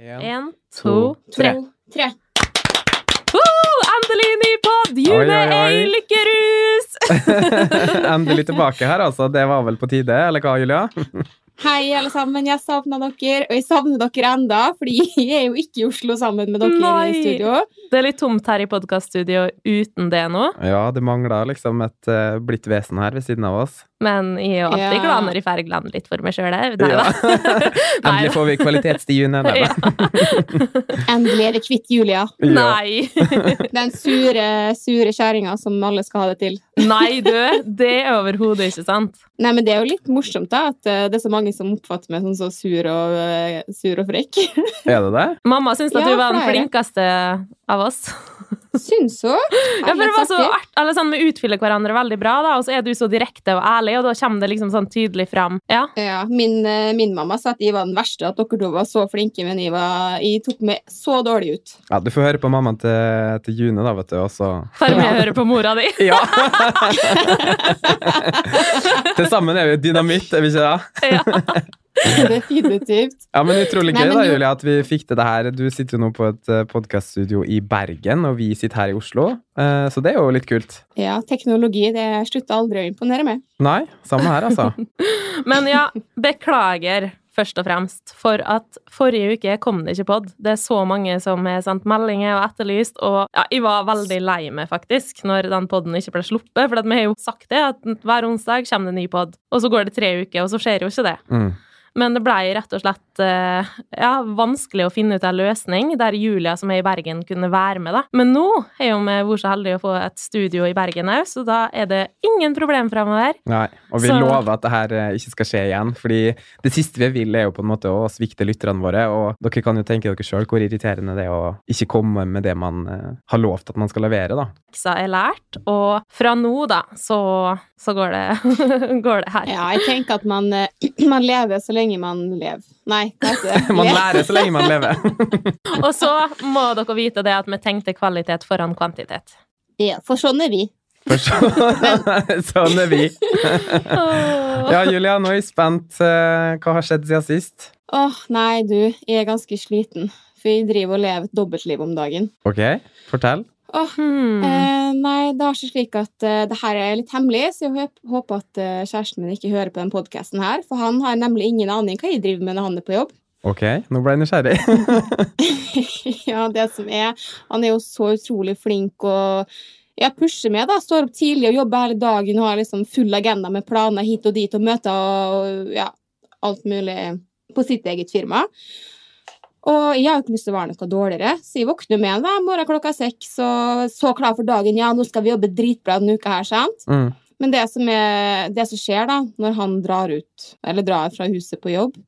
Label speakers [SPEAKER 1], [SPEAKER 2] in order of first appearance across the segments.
[SPEAKER 1] En.
[SPEAKER 2] Én,
[SPEAKER 3] to,
[SPEAKER 2] to, tre.
[SPEAKER 4] Tre.
[SPEAKER 2] Endelig ny pod!
[SPEAKER 1] Oi,
[SPEAKER 2] Juve
[SPEAKER 1] oi, oi.
[SPEAKER 2] ei lykkerus!
[SPEAKER 1] Endelig tilbake her, altså. Det var vel på tide, eller hva, Julia?
[SPEAKER 4] Hei, alle sammen. Jeg savna dere, og jeg savner dere enda, fordi jeg er jo ikke i Oslo sammen med dere
[SPEAKER 2] Nei.
[SPEAKER 4] i studio.
[SPEAKER 2] Det er litt tomt her i podkaststudio uten det nå,
[SPEAKER 1] Ja, det mangla liksom et eh, blitt vesen her ved siden av oss.
[SPEAKER 2] men jeg er jo alltid
[SPEAKER 4] Ja.
[SPEAKER 2] glad når jeg får glanne litt for meg sjøl. Nei
[SPEAKER 1] Ja.
[SPEAKER 2] da.
[SPEAKER 1] Endelig får vi kvalitetstid under
[SPEAKER 2] Ja.
[SPEAKER 1] den.
[SPEAKER 4] Endelig er det kvitt Julia.
[SPEAKER 2] Nei.
[SPEAKER 4] Den sure, sure kjerringa som alle skal ha det til.
[SPEAKER 2] Nei, du. Det er overhodet ikke sant.
[SPEAKER 4] Nei, men Det er jo litt morsomt da, at eh, det er så mange som oppfatter meg som så sur og, eh, sur og frekk.
[SPEAKER 1] Er det det?
[SPEAKER 2] Mamma syns at
[SPEAKER 4] Ja,
[SPEAKER 2] du var den
[SPEAKER 4] flere.
[SPEAKER 2] flinkeste av oss.
[SPEAKER 4] Syns hun.
[SPEAKER 2] Ja, for det var så art, eller sånn, Vi utfyller hverandre veldig bra, da, og så er du så direkte og ærlig, og da kommer det liksom sånn tydelig fram. Ja,
[SPEAKER 4] Ja, min, eh, min mamma sa at jeg var den verste, at dere to var så flinke, men jeg, var, jeg tok meg så dårlig ut.
[SPEAKER 1] Ja, du får høre på mammaen til, til June, da, vet du, og så
[SPEAKER 2] For meg å høre på mora di.
[SPEAKER 1] Ja! til sammen er vi dynamitt, er vi ikke det?
[SPEAKER 2] Ja.
[SPEAKER 4] Definitivt.
[SPEAKER 1] Ja, men Utrolig
[SPEAKER 4] Nei,
[SPEAKER 1] gøy
[SPEAKER 4] men
[SPEAKER 1] da,
[SPEAKER 4] jo-
[SPEAKER 1] Julia, at vi fikk til det her. Du sitter jo nå på et eh, podcaststudio i Bergen, og vi sitter her i Oslo, eh, så det er jo litt kult.
[SPEAKER 4] Ja, teknologi, det slutter aldri å imponere meg.
[SPEAKER 1] Nei, samme her, altså.
[SPEAKER 2] Men ja, beklager først og fremst for at forrige uke kom det ikke pod. Det er så mange som har sendt meldinger og etterlyst, og ja, jeg var veldig lei meg faktisk når den poden ikke ble sluppet, for at vi har jo sagt det, at hver onsdag kommer det en ny pod, og så går det tre uker, og så skjer jo ikke det.
[SPEAKER 1] Mm.
[SPEAKER 2] Men det blei rett og slett eh, ja, vanskelig å finne ut en løsning der Julia, som er i Bergen, kunne være med. da. Men nå har jo vi vært så heldige å få et studio i Bergen òg, så da er det ingen problem framover.
[SPEAKER 1] Nei, og vi
[SPEAKER 2] Så-
[SPEAKER 1] lover at det her eh, ikke skal skje igjen. Fordi det siste vi vil, er jo på en måte å svikte lytterne våre. Og dere kan jo tenke dere sjøl hvor irriterende det er å ikke komme med det man eh, har lovt at man skal levere, da.
[SPEAKER 2] Leksa er lært, og fra nå, da, så, så går, det, går det her.
[SPEAKER 4] Ja, jeg tenker at man, eh, man lever så lenge man lever. Nei, hva heter det?
[SPEAKER 1] Man
[SPEAKER 4] Le-
[SPEAKER 1] lærer så lenge man lever.
[SPEAKER 2] Og så må dere vite det at vi tenkte kvalitet foran kvantitet.
[SPEAKER 4] Ja, for sånn er vi.
[SPEAKER 1] For så, sånn er vi.
[SPEAKER 2] Åh.
[SPEAKER 1] Ja, Julia, nå er jeg spent. Eh, Hva har skjedd siden sist?
[SPEAKER 4] Åh, nei, du, jeg er ganske sliten. For jeg driver og lever et dobbeltliv om dagen.
[SPEAKER 1] Ok, fortell.
[SPEAKER 4] Åh,
[SPEAKER 1] Mm.
[SPEAKER 2] Hmm.
[SPEAKER 4] eh, nei, det er så slik at eh, det her er litt hemmelig, så jeg håp- håper at eh, kjæresten min ikke hører på den podcasten her, for han har nemlig ingen aning hva jeg driver med når han er på jobb.
[SPEAKER 1] Ok, nå ble jeg nysgjerrig.
[SPEAKER 4] ja, det som er, han er jo så utrolig flink og jeg pusher med, da. Står opp tidlig og jobber hele dagen og har liksom full agenda med planer hit og dit og møter og ja, alt mulig på sitt eget firma. Og jeg har jo ikke lyst til å være noe dårligere, så jeg våkner med hver morgen klokka seks og så klar for dagen. Ja, nå skal vi jobbe dritbra denne uka her, sant?
[SPEAKER 1] Mm.
[SPEAKER 4] Men det som, er, det som skjer da, når han drar ut, eller drar fra huset på jobb,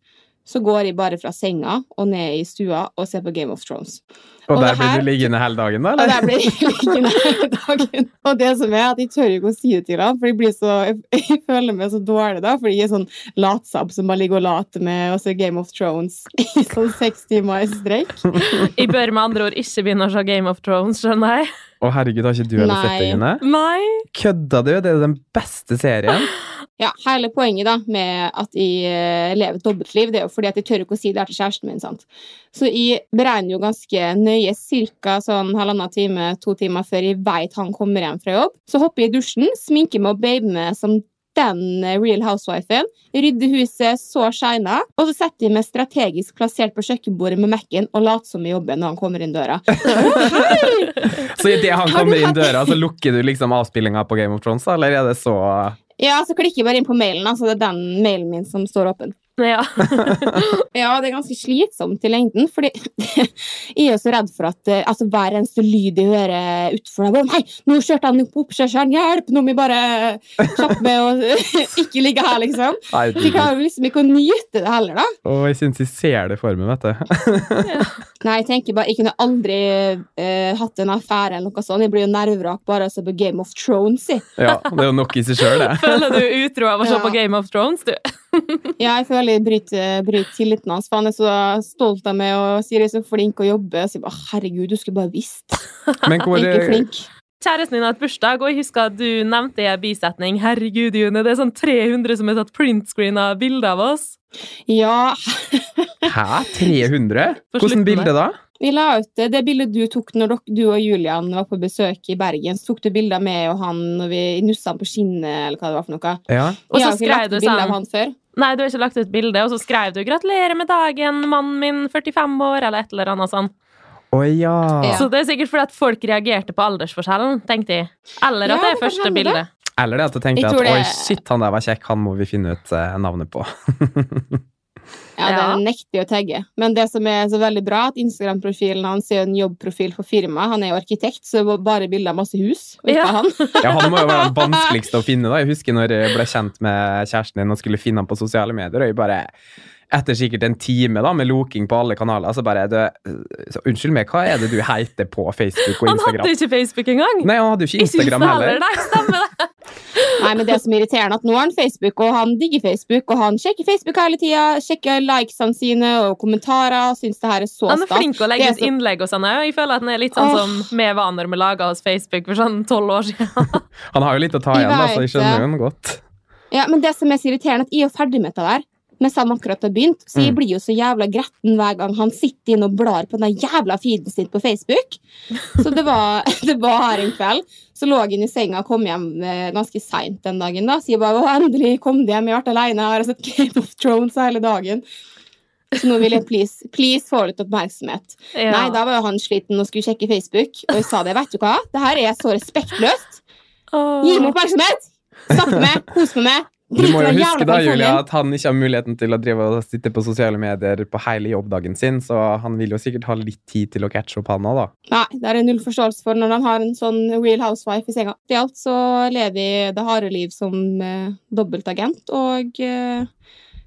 [SPEAKER 4] så går jeg bare fra senga og ned i stua og ser på Game of Thrones.
[SPEAKER 1] Og
[SPEAKER 4] Og
[SPEAKER 1] der
[SPEAKER 4] det
[SPEAKER 1] blir
[SPEAKER 4] her-
[SPEAKER 1] du liggende hele dagen, da?
[SPEAKER 4] Og
[SPEAKER 1] Eller?
[SPEAKER 4] der blir jeg liggende hele dagen. Og det som er at jeg tør ikke å si det til ham, for jeg, blir så, jeg, jeg føler meg så dårlig da, fordi jeg er sånn latsabb som bare ligger og later med og ser Game of Thrones i sånn seks timer i strekk.
[SPEAKER 2] Jeg bør med andre ord ikke begynne å se Game of Thrones, skjønner jeg.
[SPEAKER 1] Å, herregud, har ikke du heller sett det,
[SPEAKER 4] Nei.
[SPEAKER 1] June?
[SPEAKER 2] Nei.
[SPEAKER 1] Kødda du? Det er den beste serien.
[SPEAKER 4] Ja, hele poenget da med at jeg eh, lever et dobbeltliv, det er jo fordi at jeg tør ikke å si det her til kjæresten min. sant? Så jeg beregner jo ganske nøye, ca. sånn halvannen time, to timer før jeg veit han kommer hjem fra jobb. Så hopper jeg i dusjen, sminker meg og baber meg som den eh, real housewifen. Rydder huset så shina. Og så setter jeg meg strategisk plassert på kjøkkenbordet med Mac-en og later som jeg jobber når han kommer inn døra.
[SPEAKER 1] Så idet han
[SPEAKER 4] Har du
[SPEAKER 1] kommer inn
[SPEAKER 4] hatt-
[SPEAKER 1] døra, så lukker du liksom avspillinga på Game of Thrones, da? Eller er det så
[SPEAKER 4] Ja, så klikker jeg bare inn på mailen, da, så det er den mailen min som står åpen.
[SPEAKER 2] Ja.
[SPEAKER 4] Ja, det er ganske slitsomt i lengden, fordi jeg er jo så redd for at eh, altså, hver eneste lyd jeg hører utenfor deg, nei, nå kjørte han opp oppkjørselen, hjelp, nå må jeg bare kjappe meg og ikke ligge her, liksom.
[SPEAKER 1] Nei,
[SPEAKER 4] Så jeg klarer jo liksom ikke å nyte det heller, da.
[SPEAKER 1] Å, jeg syns jeg ser det for meg, vet du.
[SPEAKER 4] Nei, jeg tenker bare, jeg kunne aldri eh, hatt en affære eller noe sånt, jeg blir jo nervevrak bare av å se på Game of Thrones, jeg.
[SPEAKER 1] Ja, det er jo nok i seg sjøl, det.
[SPEAKER 2] Føler du er utro av å se
[SPEAKER 4] Ja.
[SPEAKER 2] på Game of Thrones, du?
[SPEAKER 4] Ja, jeg føler jeg bryter, bryter tilliten hans, for han er så stolt av meg og sier jeg er så flink å jobbe, og sier bare, herregud, du skulle bare visst,
[SPEAKER 1] Men hvor,
[SPEAKER 4] jeg er ikke flink.
[SPEAKER 2] Kjæresten din har hatt bursdag, og jeg husker at du nevnte i en bisetning Herregud, June, det er sånn 300 som har tatt printscreen av bilder av oss.
[SPEAKER 4] Ja,
[SPEAKER 1] Hæ? 300?
[SPEAKER 2] På
[SPEAKER 1] Hvordan
[SPEAKER 2] slutten
[SPEAKER 1] bilde
[SPEAKER 2] der.
[SPEAKER 1] da?
[SPEAKER 4] vi la ut det, det bildet du tok når dok- du og Julian var på besøk i Bergen. Så tok du bilder av meg og han når vi nussa han på skinnet, eller hva det var for noe.
[SPEAKER 1] Ja.
[SPEAKER 2] Og så
[SPEAKER 4] Jeg har ikke
[SPEAKER 2] skrev
[SPEAKER 4] lagt
[SPEAKER 2] du
[SPEAKER 4] ut bilde av
[SPEAKER 2] sånn
[SPEAKER 4] han før.
[SPEAKER 2] Nei, du har ikke lagt ut bilde, og så skrev du 'Gratulerer med dagen, mannen min, 45 år', eller et eller annet sånn.
[SPEAKER 1] Å ja.
[SPEAKER 4] Ja.
[SPEAKER 2] Så det er sikkert fordi at folk reagerte på aldersforskjellen, tenkte jeg. Eller at
[SPEAKER 4] Ja,
[SPEAKER 2] det
[SPEAKER 4] det
[SPEAKER 2] er
[SPEAKER 4] kan
[SPEAKER 2] første
[SPEAKER 4] hende det.
[SPEAKER 2] bilde.
[SPEAKER 1] Eller det at jeg tenkte
[SPEAKER 4] Jeg
[SPEAKER 1] at
[SPEAKER 4] tror det-
[SPEAKER 1] oi, shit, han der var kjekk, han må vi finne ut eh, navnet på.
[SPEAKER 4] Ja,
[SPEAKER 2] Ja.
[SPEAKER 4] Den nekter jeg å tagge. Men det som er så veldig bra, at Instagram-profilen hans er jo en jobbprofil for firmaet. Han er jo arkitekt, så det var bare bilder av masse hus. Og ikke
[SPEAKER 2] Ja.
[SPEAKER 4] av han.
[SPEAKER 1] Ja, Han må jo være den vanskeligste å finne. da. Jeg husker når jeg ble kjent med kjæresten din og skulle finne han på sosiale medier. og jeg bare, Etter sikkert en time da, med loking på alle kanaler, så bare du, så, Unnskyld meg, hva er det du heter på Facebook og
[SPEAKER 2] Han
[SPEAKER 1] Instagram?
[SPEAKER 2] hadde ikke Facebook engang!
[SPEAKER 1] Nei, han hadde jo ikke
[SPEAKER 2] Ikke
[SPEAKER 1] Instagram
[SPEAKER 2] Insta
[SPEAKER 1] heller.
[SPEAKER 2] Nei, stemmer det.
[SPEAKER 4] Nei, men det som er irriterende, er at nå har han Facebook, og han digger Facebook, og han sjekker Facebook hele tida, sjekker likesene sine og kommentarer, syns det her er så
[SPEAKER 2] Han er
[SPEAKER 4] stas.
[SPEAKER 2] flink å legge
[SPEAKER 4] Det er
[SPEAKER 2] ut
[SPEAKER 4] så-
[SPEAKER 2] innlegg og sånn òg. Jeg føler at han er litt sånn
[SPEAKER 4] Åh.
[SPEAKER 2] som vi var når vi laga oss Facebook for sånn tolv år siden.
[SPEAKER 1] Han har jo litt å ta
[SPEAKER 4] Jeg
[SPEAKER 1] igjen, da, så jeg
[SPEAKER 4] vet
[SPEAKER 1] skjønner
[SPEAKER 4] det.
[SPEAKER 1] jo han godt.
[SPEAKER 4] Ja, men det som er så irriterende, er at jeg er jo ferdig med det der. Mens han akkurat har begynt. Så jeg
[SPEAKER 1] Mm.
[SPEAKER 4] blir jo så jævla gretten hver gang han sitter inne og blar på den jævla feeden sin på Facebook. Så det var, det var her en kveld. Så lå han i senga og kom hjem eh, ganske seint den dagen. da. Så jeg bare å, endelig kom det hjem, jeg har vært aleine, jeg har sett Game of Thrones hele dagen. Så nå vil jeg please, please få litt oppmerksomhet.
[SPEAKER 2] Ja.
[SPEAKER 4] Nei, da var jo han sliten og skulle sjekke Facebook, og jeg sa det. Vet du hva? Det her er så respektløst.
[SPEAKER 2] Åh.
[SPEAKER 4] Gi meg oppmerksomhet! Snakke med, kose meg.
[SPEAKER 1] Du må jo
[SPEAKER 4] den
[SPEAKER 1] huske da,
[SPEAKER 4] telefonen din.
[SPEAKER 1] Julia, at han ikke har muligheten til å drive og sitte på sosiale medier på hele jobbdagen sin, så han vil jo sikkert ha litt tid til å catche opp, han òg, da.
[SPEAKER 4] Nei, det er det null forståelse for når han har en sånn real housewife i senga. I alt så lever vi det harde liv som eh, dobbeltagent, og eh,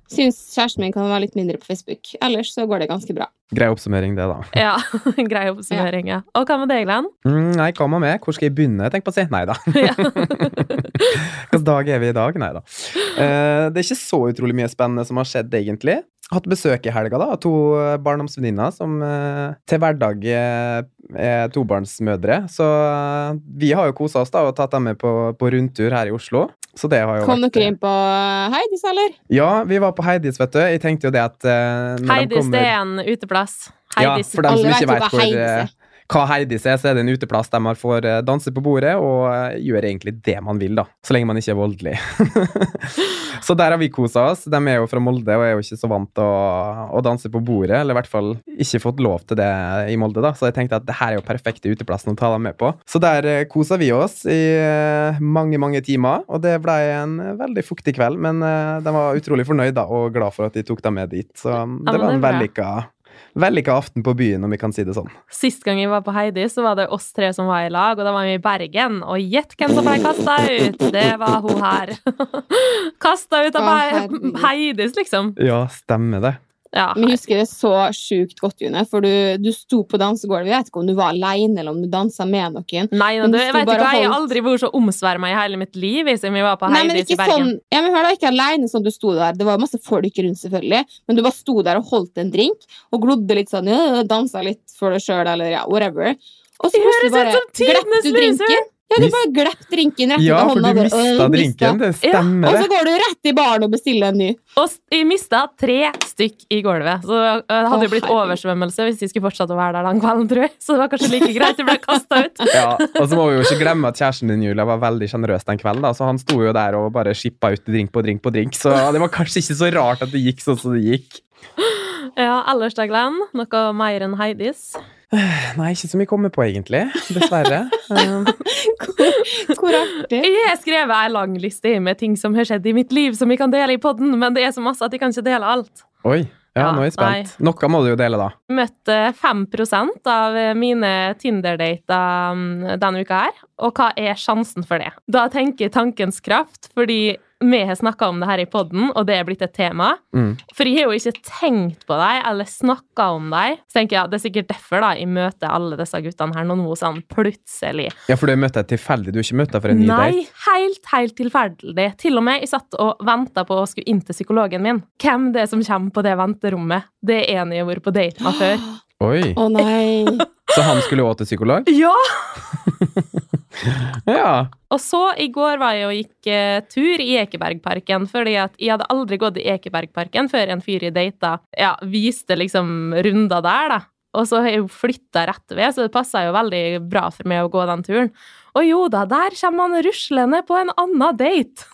[SPEAKER 4] syns kjæresten min kan være litt mindre på Facebook. Ellers så går det ganske bra.
[SPEAKER 1] Grei oppsummering, det, da.
[SPEAKER 2] Ja, Grei oppsummering. ja. Og hva med deg, Glenn?
[SPEAKER 1] Mm, nei, hva med meg? Hvor skal jeg begynne? Tenk på å si nei, da.
[SPEAKER 2] Ja.
[SPEAKER 1] Hvilken dag er vi i dag? Nei da. Eh, det er ikke så utrolig mye spennende som har skjedd, egentlig. Hatt besøk i helga, da, av to eh, barndomsvenninner som eh, til hverdag eh, er tobarnsmødre. Så eh, vi har jo kosa oss da og tatt dem med på, på rundtur her i Oslo. Så det har jo
[SPEAKER 4] Kom
[SPEAKER 1] vært
[SPEAKER 4] dere inn på eh, Hei, disse, eller?
[SPEAKER 1] Ja, vi var på Heidis, vet du. Jeg tenkte jo det at eh, når de
[SPEAKER 2] Heidis,
[SPEAKER 1] kommer-
[SPEAKER 2] det er en uteplass. Heidis.
[SPEAKER 1] ja, for dem som
[SPEAKER 4] Alle
[SPEAKER 1] ikke
[SPEAKER 4] vet jo
[SPEAKER 1] vet
[SPEAKER 4] hva
[SPEAKER 1] hvor,
[SPEAKER 4] Heidis er.
[SPEAKER 1] eh, hva Heidis er, så er det en uteplass der man får eh, danse på bordet og eh, gjøre egentlig det man vil, da. Så lenge man ikke er voldelig. så der har vi kosa oss. De er jo fra Molde og er jo ikke så vant til å, å danse på bordet, eller i hvert fall ikke fått lov til det i Molde, da. Så jeg tenkte at det her er jo perfekte uteplassen å ta dem med på. Så der eh, kosa vi oss i eh, mange, mange timer, og det blei en veldig fuktig kveld, men eh, de var utrolig fornøyd da, og glad for at de tok dem med dit. Så mm,
[SPEAKER 2] Ja,
[SPEAKER 1] det var en
[SPEAKER 2] men det er bra.
[SPEAKER 1] vellykka Vellykka aften på byen, om vi kan si det sånn.
[SPEAKER 2] Sist gang jeg var på Heidi, så var det oss tre som var i lag, og da var vi i Bergen. Og gjett hvem som ble kasta ut! Det var hun her. kasta ut av
[SPEAKER 4] Å,
[SPEAKER 2] Hei-
[SPEAKER 4] herregud.
[SPEAKER 2] Heidis, liksom.
[SPEAKER 1] Ja, stemmer det.
[SPEAKER 2] Ja.
[SPEAKER 4] Men jeg husker det så sjukt godt, June, for du, du sto på dansegulvet. Jeg vet ikke om du var aleine, eller om du dansa med noen.
[SPEAKER 2] Nei,
[SPEAKER 4] Men
[SPEAKER 2] du,
[SPEAKER 4] det
[SPEAKER 2] jeg
[SPEAKER 4] sto
[SPEAKER 2] vet
[SPEAKER 4] bare
[SPEAKER 2] ikke, hva, jeg har
[SPEAKER 4] holdt.
[SPEAKER 2] aldri vært så omsverma i hele mitt liv jeg, siden vi var på
[SPEAKER 4] Nei, men
[SPEAKER 2] Heidis i
[SPEAKER 4] ikke
[SPEAKER 2] Bergen.
[SPEAKER 4] sånn Ja, men hør da, ikke alene sånn du sto der. Det var masse folk rundt, selvfølgelig, men du bare sto der og holdt en drink og glodde litt sånn, ja, dansa litt for deg sjøl, eller ja, whatever. Og så
[SPEAKER 2] Det
[SPEAKER 4] plutselig
[SPEAKER 2] høres ut
[SPEAKER 4] bare
[SPEAKER 2] som tidenes
[SPEAKER 4] glepp du
[SPEAKER 2] loser!
[SPEAKER 4] drinken. Ja, du
[SPEAKER 1] Mis-
[SPEAKER 4] bare glepp drinken rett ut
[SPEAKER 1] Ja,
[SPEAKER 4] av
[SPEAKER 1] for
[SPEAKER 4] hånda.
[SPEAKER 1] du
[SPEAKER 4] bare,
[SPEAKER 1] mista
[SPEAKER 4] «Åh,
[SPEAKER 1] drinken. Det
[SPEAKER 2] Ja, altså,
[SPEAKER 1] stemmer,
[SPEAKER 4] Og så
[SPEAKER 1] det.
[SPEAKER 4] går du rett i baren og bestiller en ny.
[SPEAKER 2] Og s- jeg mista tre stykk i gulvet, så det eh, hadde jo
[SPEAKER 4] Å,
[SPEAKER 2] blitt
[SPEAKER 4] herregud.
[SPEAKER 2] oversvømmelse hvis jeg skulle fortsatt å være der den kvelden, tror jeg. Så det var kanskje like greit jeg ble kasta ut.
[SPEAKER 1] Ja, og så må vi jo ikke glemme at kjæresten din Julia, var veldig sjenerøs den kvelden. da, Så han sto jo der og bare skippa ut drink på drink på drink. Så det var kanskje ikke så rart at det gikk sånn som det gikk.
[SPEAKER 2] Ja, ellers da, Glenn? Noe mer enn Heidis?
[SPEAKER 1] Nei, ikke som vi kommer på, egentlig. Dessverre. Eh,
[SPEAKER 4] Hvor artig.
[SPEAKER 2] Jeg har skrevet ei lang liste med ting som har skjedd i mitt liv, som vi kan dele i podden, men det er så masse at jeg kan ikke dele alt.
[SPEAKER 1] Oi. Ja,
[SPEAKER 2] Ja,
[SPEAKER 1] nå er jeg spent. Noe må du jo dele, da.
[SPEAKER 2] Møtte 5 av mine Tinder-dater mm, denne uka her, og hva er sjansen for det? Da tenker jeg tankens kraft, fordi vi har snakka om det her i podden, og det er blitt et tema.
[SPEAKER 1] Mm.
[SPEAKER 2] For jeg har jo ikke tenkt på dem eller snakka om dem. Så tenker jeg at det er sikkert derfor da jeg møter alle disse guttene her nå sånn plutselig.
[SPEAKER 1] Ja, for du møtte deg tilfeldig. Du har ikke møtt deg for en ny date.
[SPEAKER 2] Nei, helt, helt tilfeldig. Til og med jeg satt og venta på å skulle inn til psykologen min. Hvem det er som kommer på det venterommet? Det er en jeg har vært på date med før.
[SPEAKER 1] Oi.
[SPEAKER 4] Å nei.
[SPEAKER 1] Så han skulle òg til psykolog?
[SPEAKER 2] Ja!
[SPEAKER 1] Ja.
[SPEAKER 2] Og så i går var jeg og gikk eh, tur i Ekebergparken, fordi at jeg hadde aldri gått i Ekebergparken før en fyr jeg data ja, viste liksom runder der, da. Og så har jeg jo flytta rett ved, så det passa jo veldig bra for meg å gå den turen. Og jo da, der kommer han ruslende på en annen date!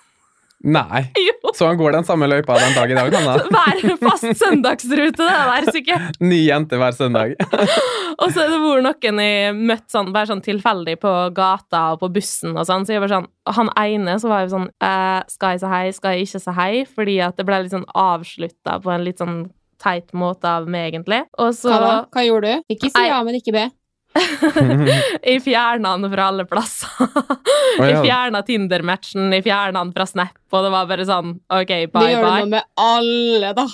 [SPEAKER 1] Nei.
[SPEAKER 2] Jo!
[SPEAKER 1] Så han går den samme løypa den dag i dag, han da.
[SPEAKER 2] Hver fast søndagsrute, det der sikkert.
[SPEAKER 1] Ny jente hver søndag.
[SPEAKER 2] Og så er det hvor noen jeg møtte sånn, bare sånn tilfeldig på gata og på bussen og sånn. Så jeg var sånn, han ene så var jo sånn eh, Skal jeg si hei, skal jeg ikke si hei? Fordi at det ble litt sånn avslutta på en litt sånn teit måte av meg, egentlig. Og så
[SPEAKER 4] Hva, da? Hva gjorde du? Ikke si
[SPEAKER 2] Nei.
[SPEAKER 4] ja, men ikke be.
[SPEAKER 2] jeg fjerna han fra alle plasser.
[SPEAKER 1] Å,
[SPEAKER 2] jeg
[SPEAKER 1] ja.
[SPEAKER 2] fjerna Tinder-matchen, jeg fjerna han fra Snap, og det var bare sånn OK,
[SPEAKER 4] Det
[SPEAKER 2] bye,
[SPEAKER 4] gjør du nå
[SPEAKER 2] bye.
[SPEAKER 4] med alle, da.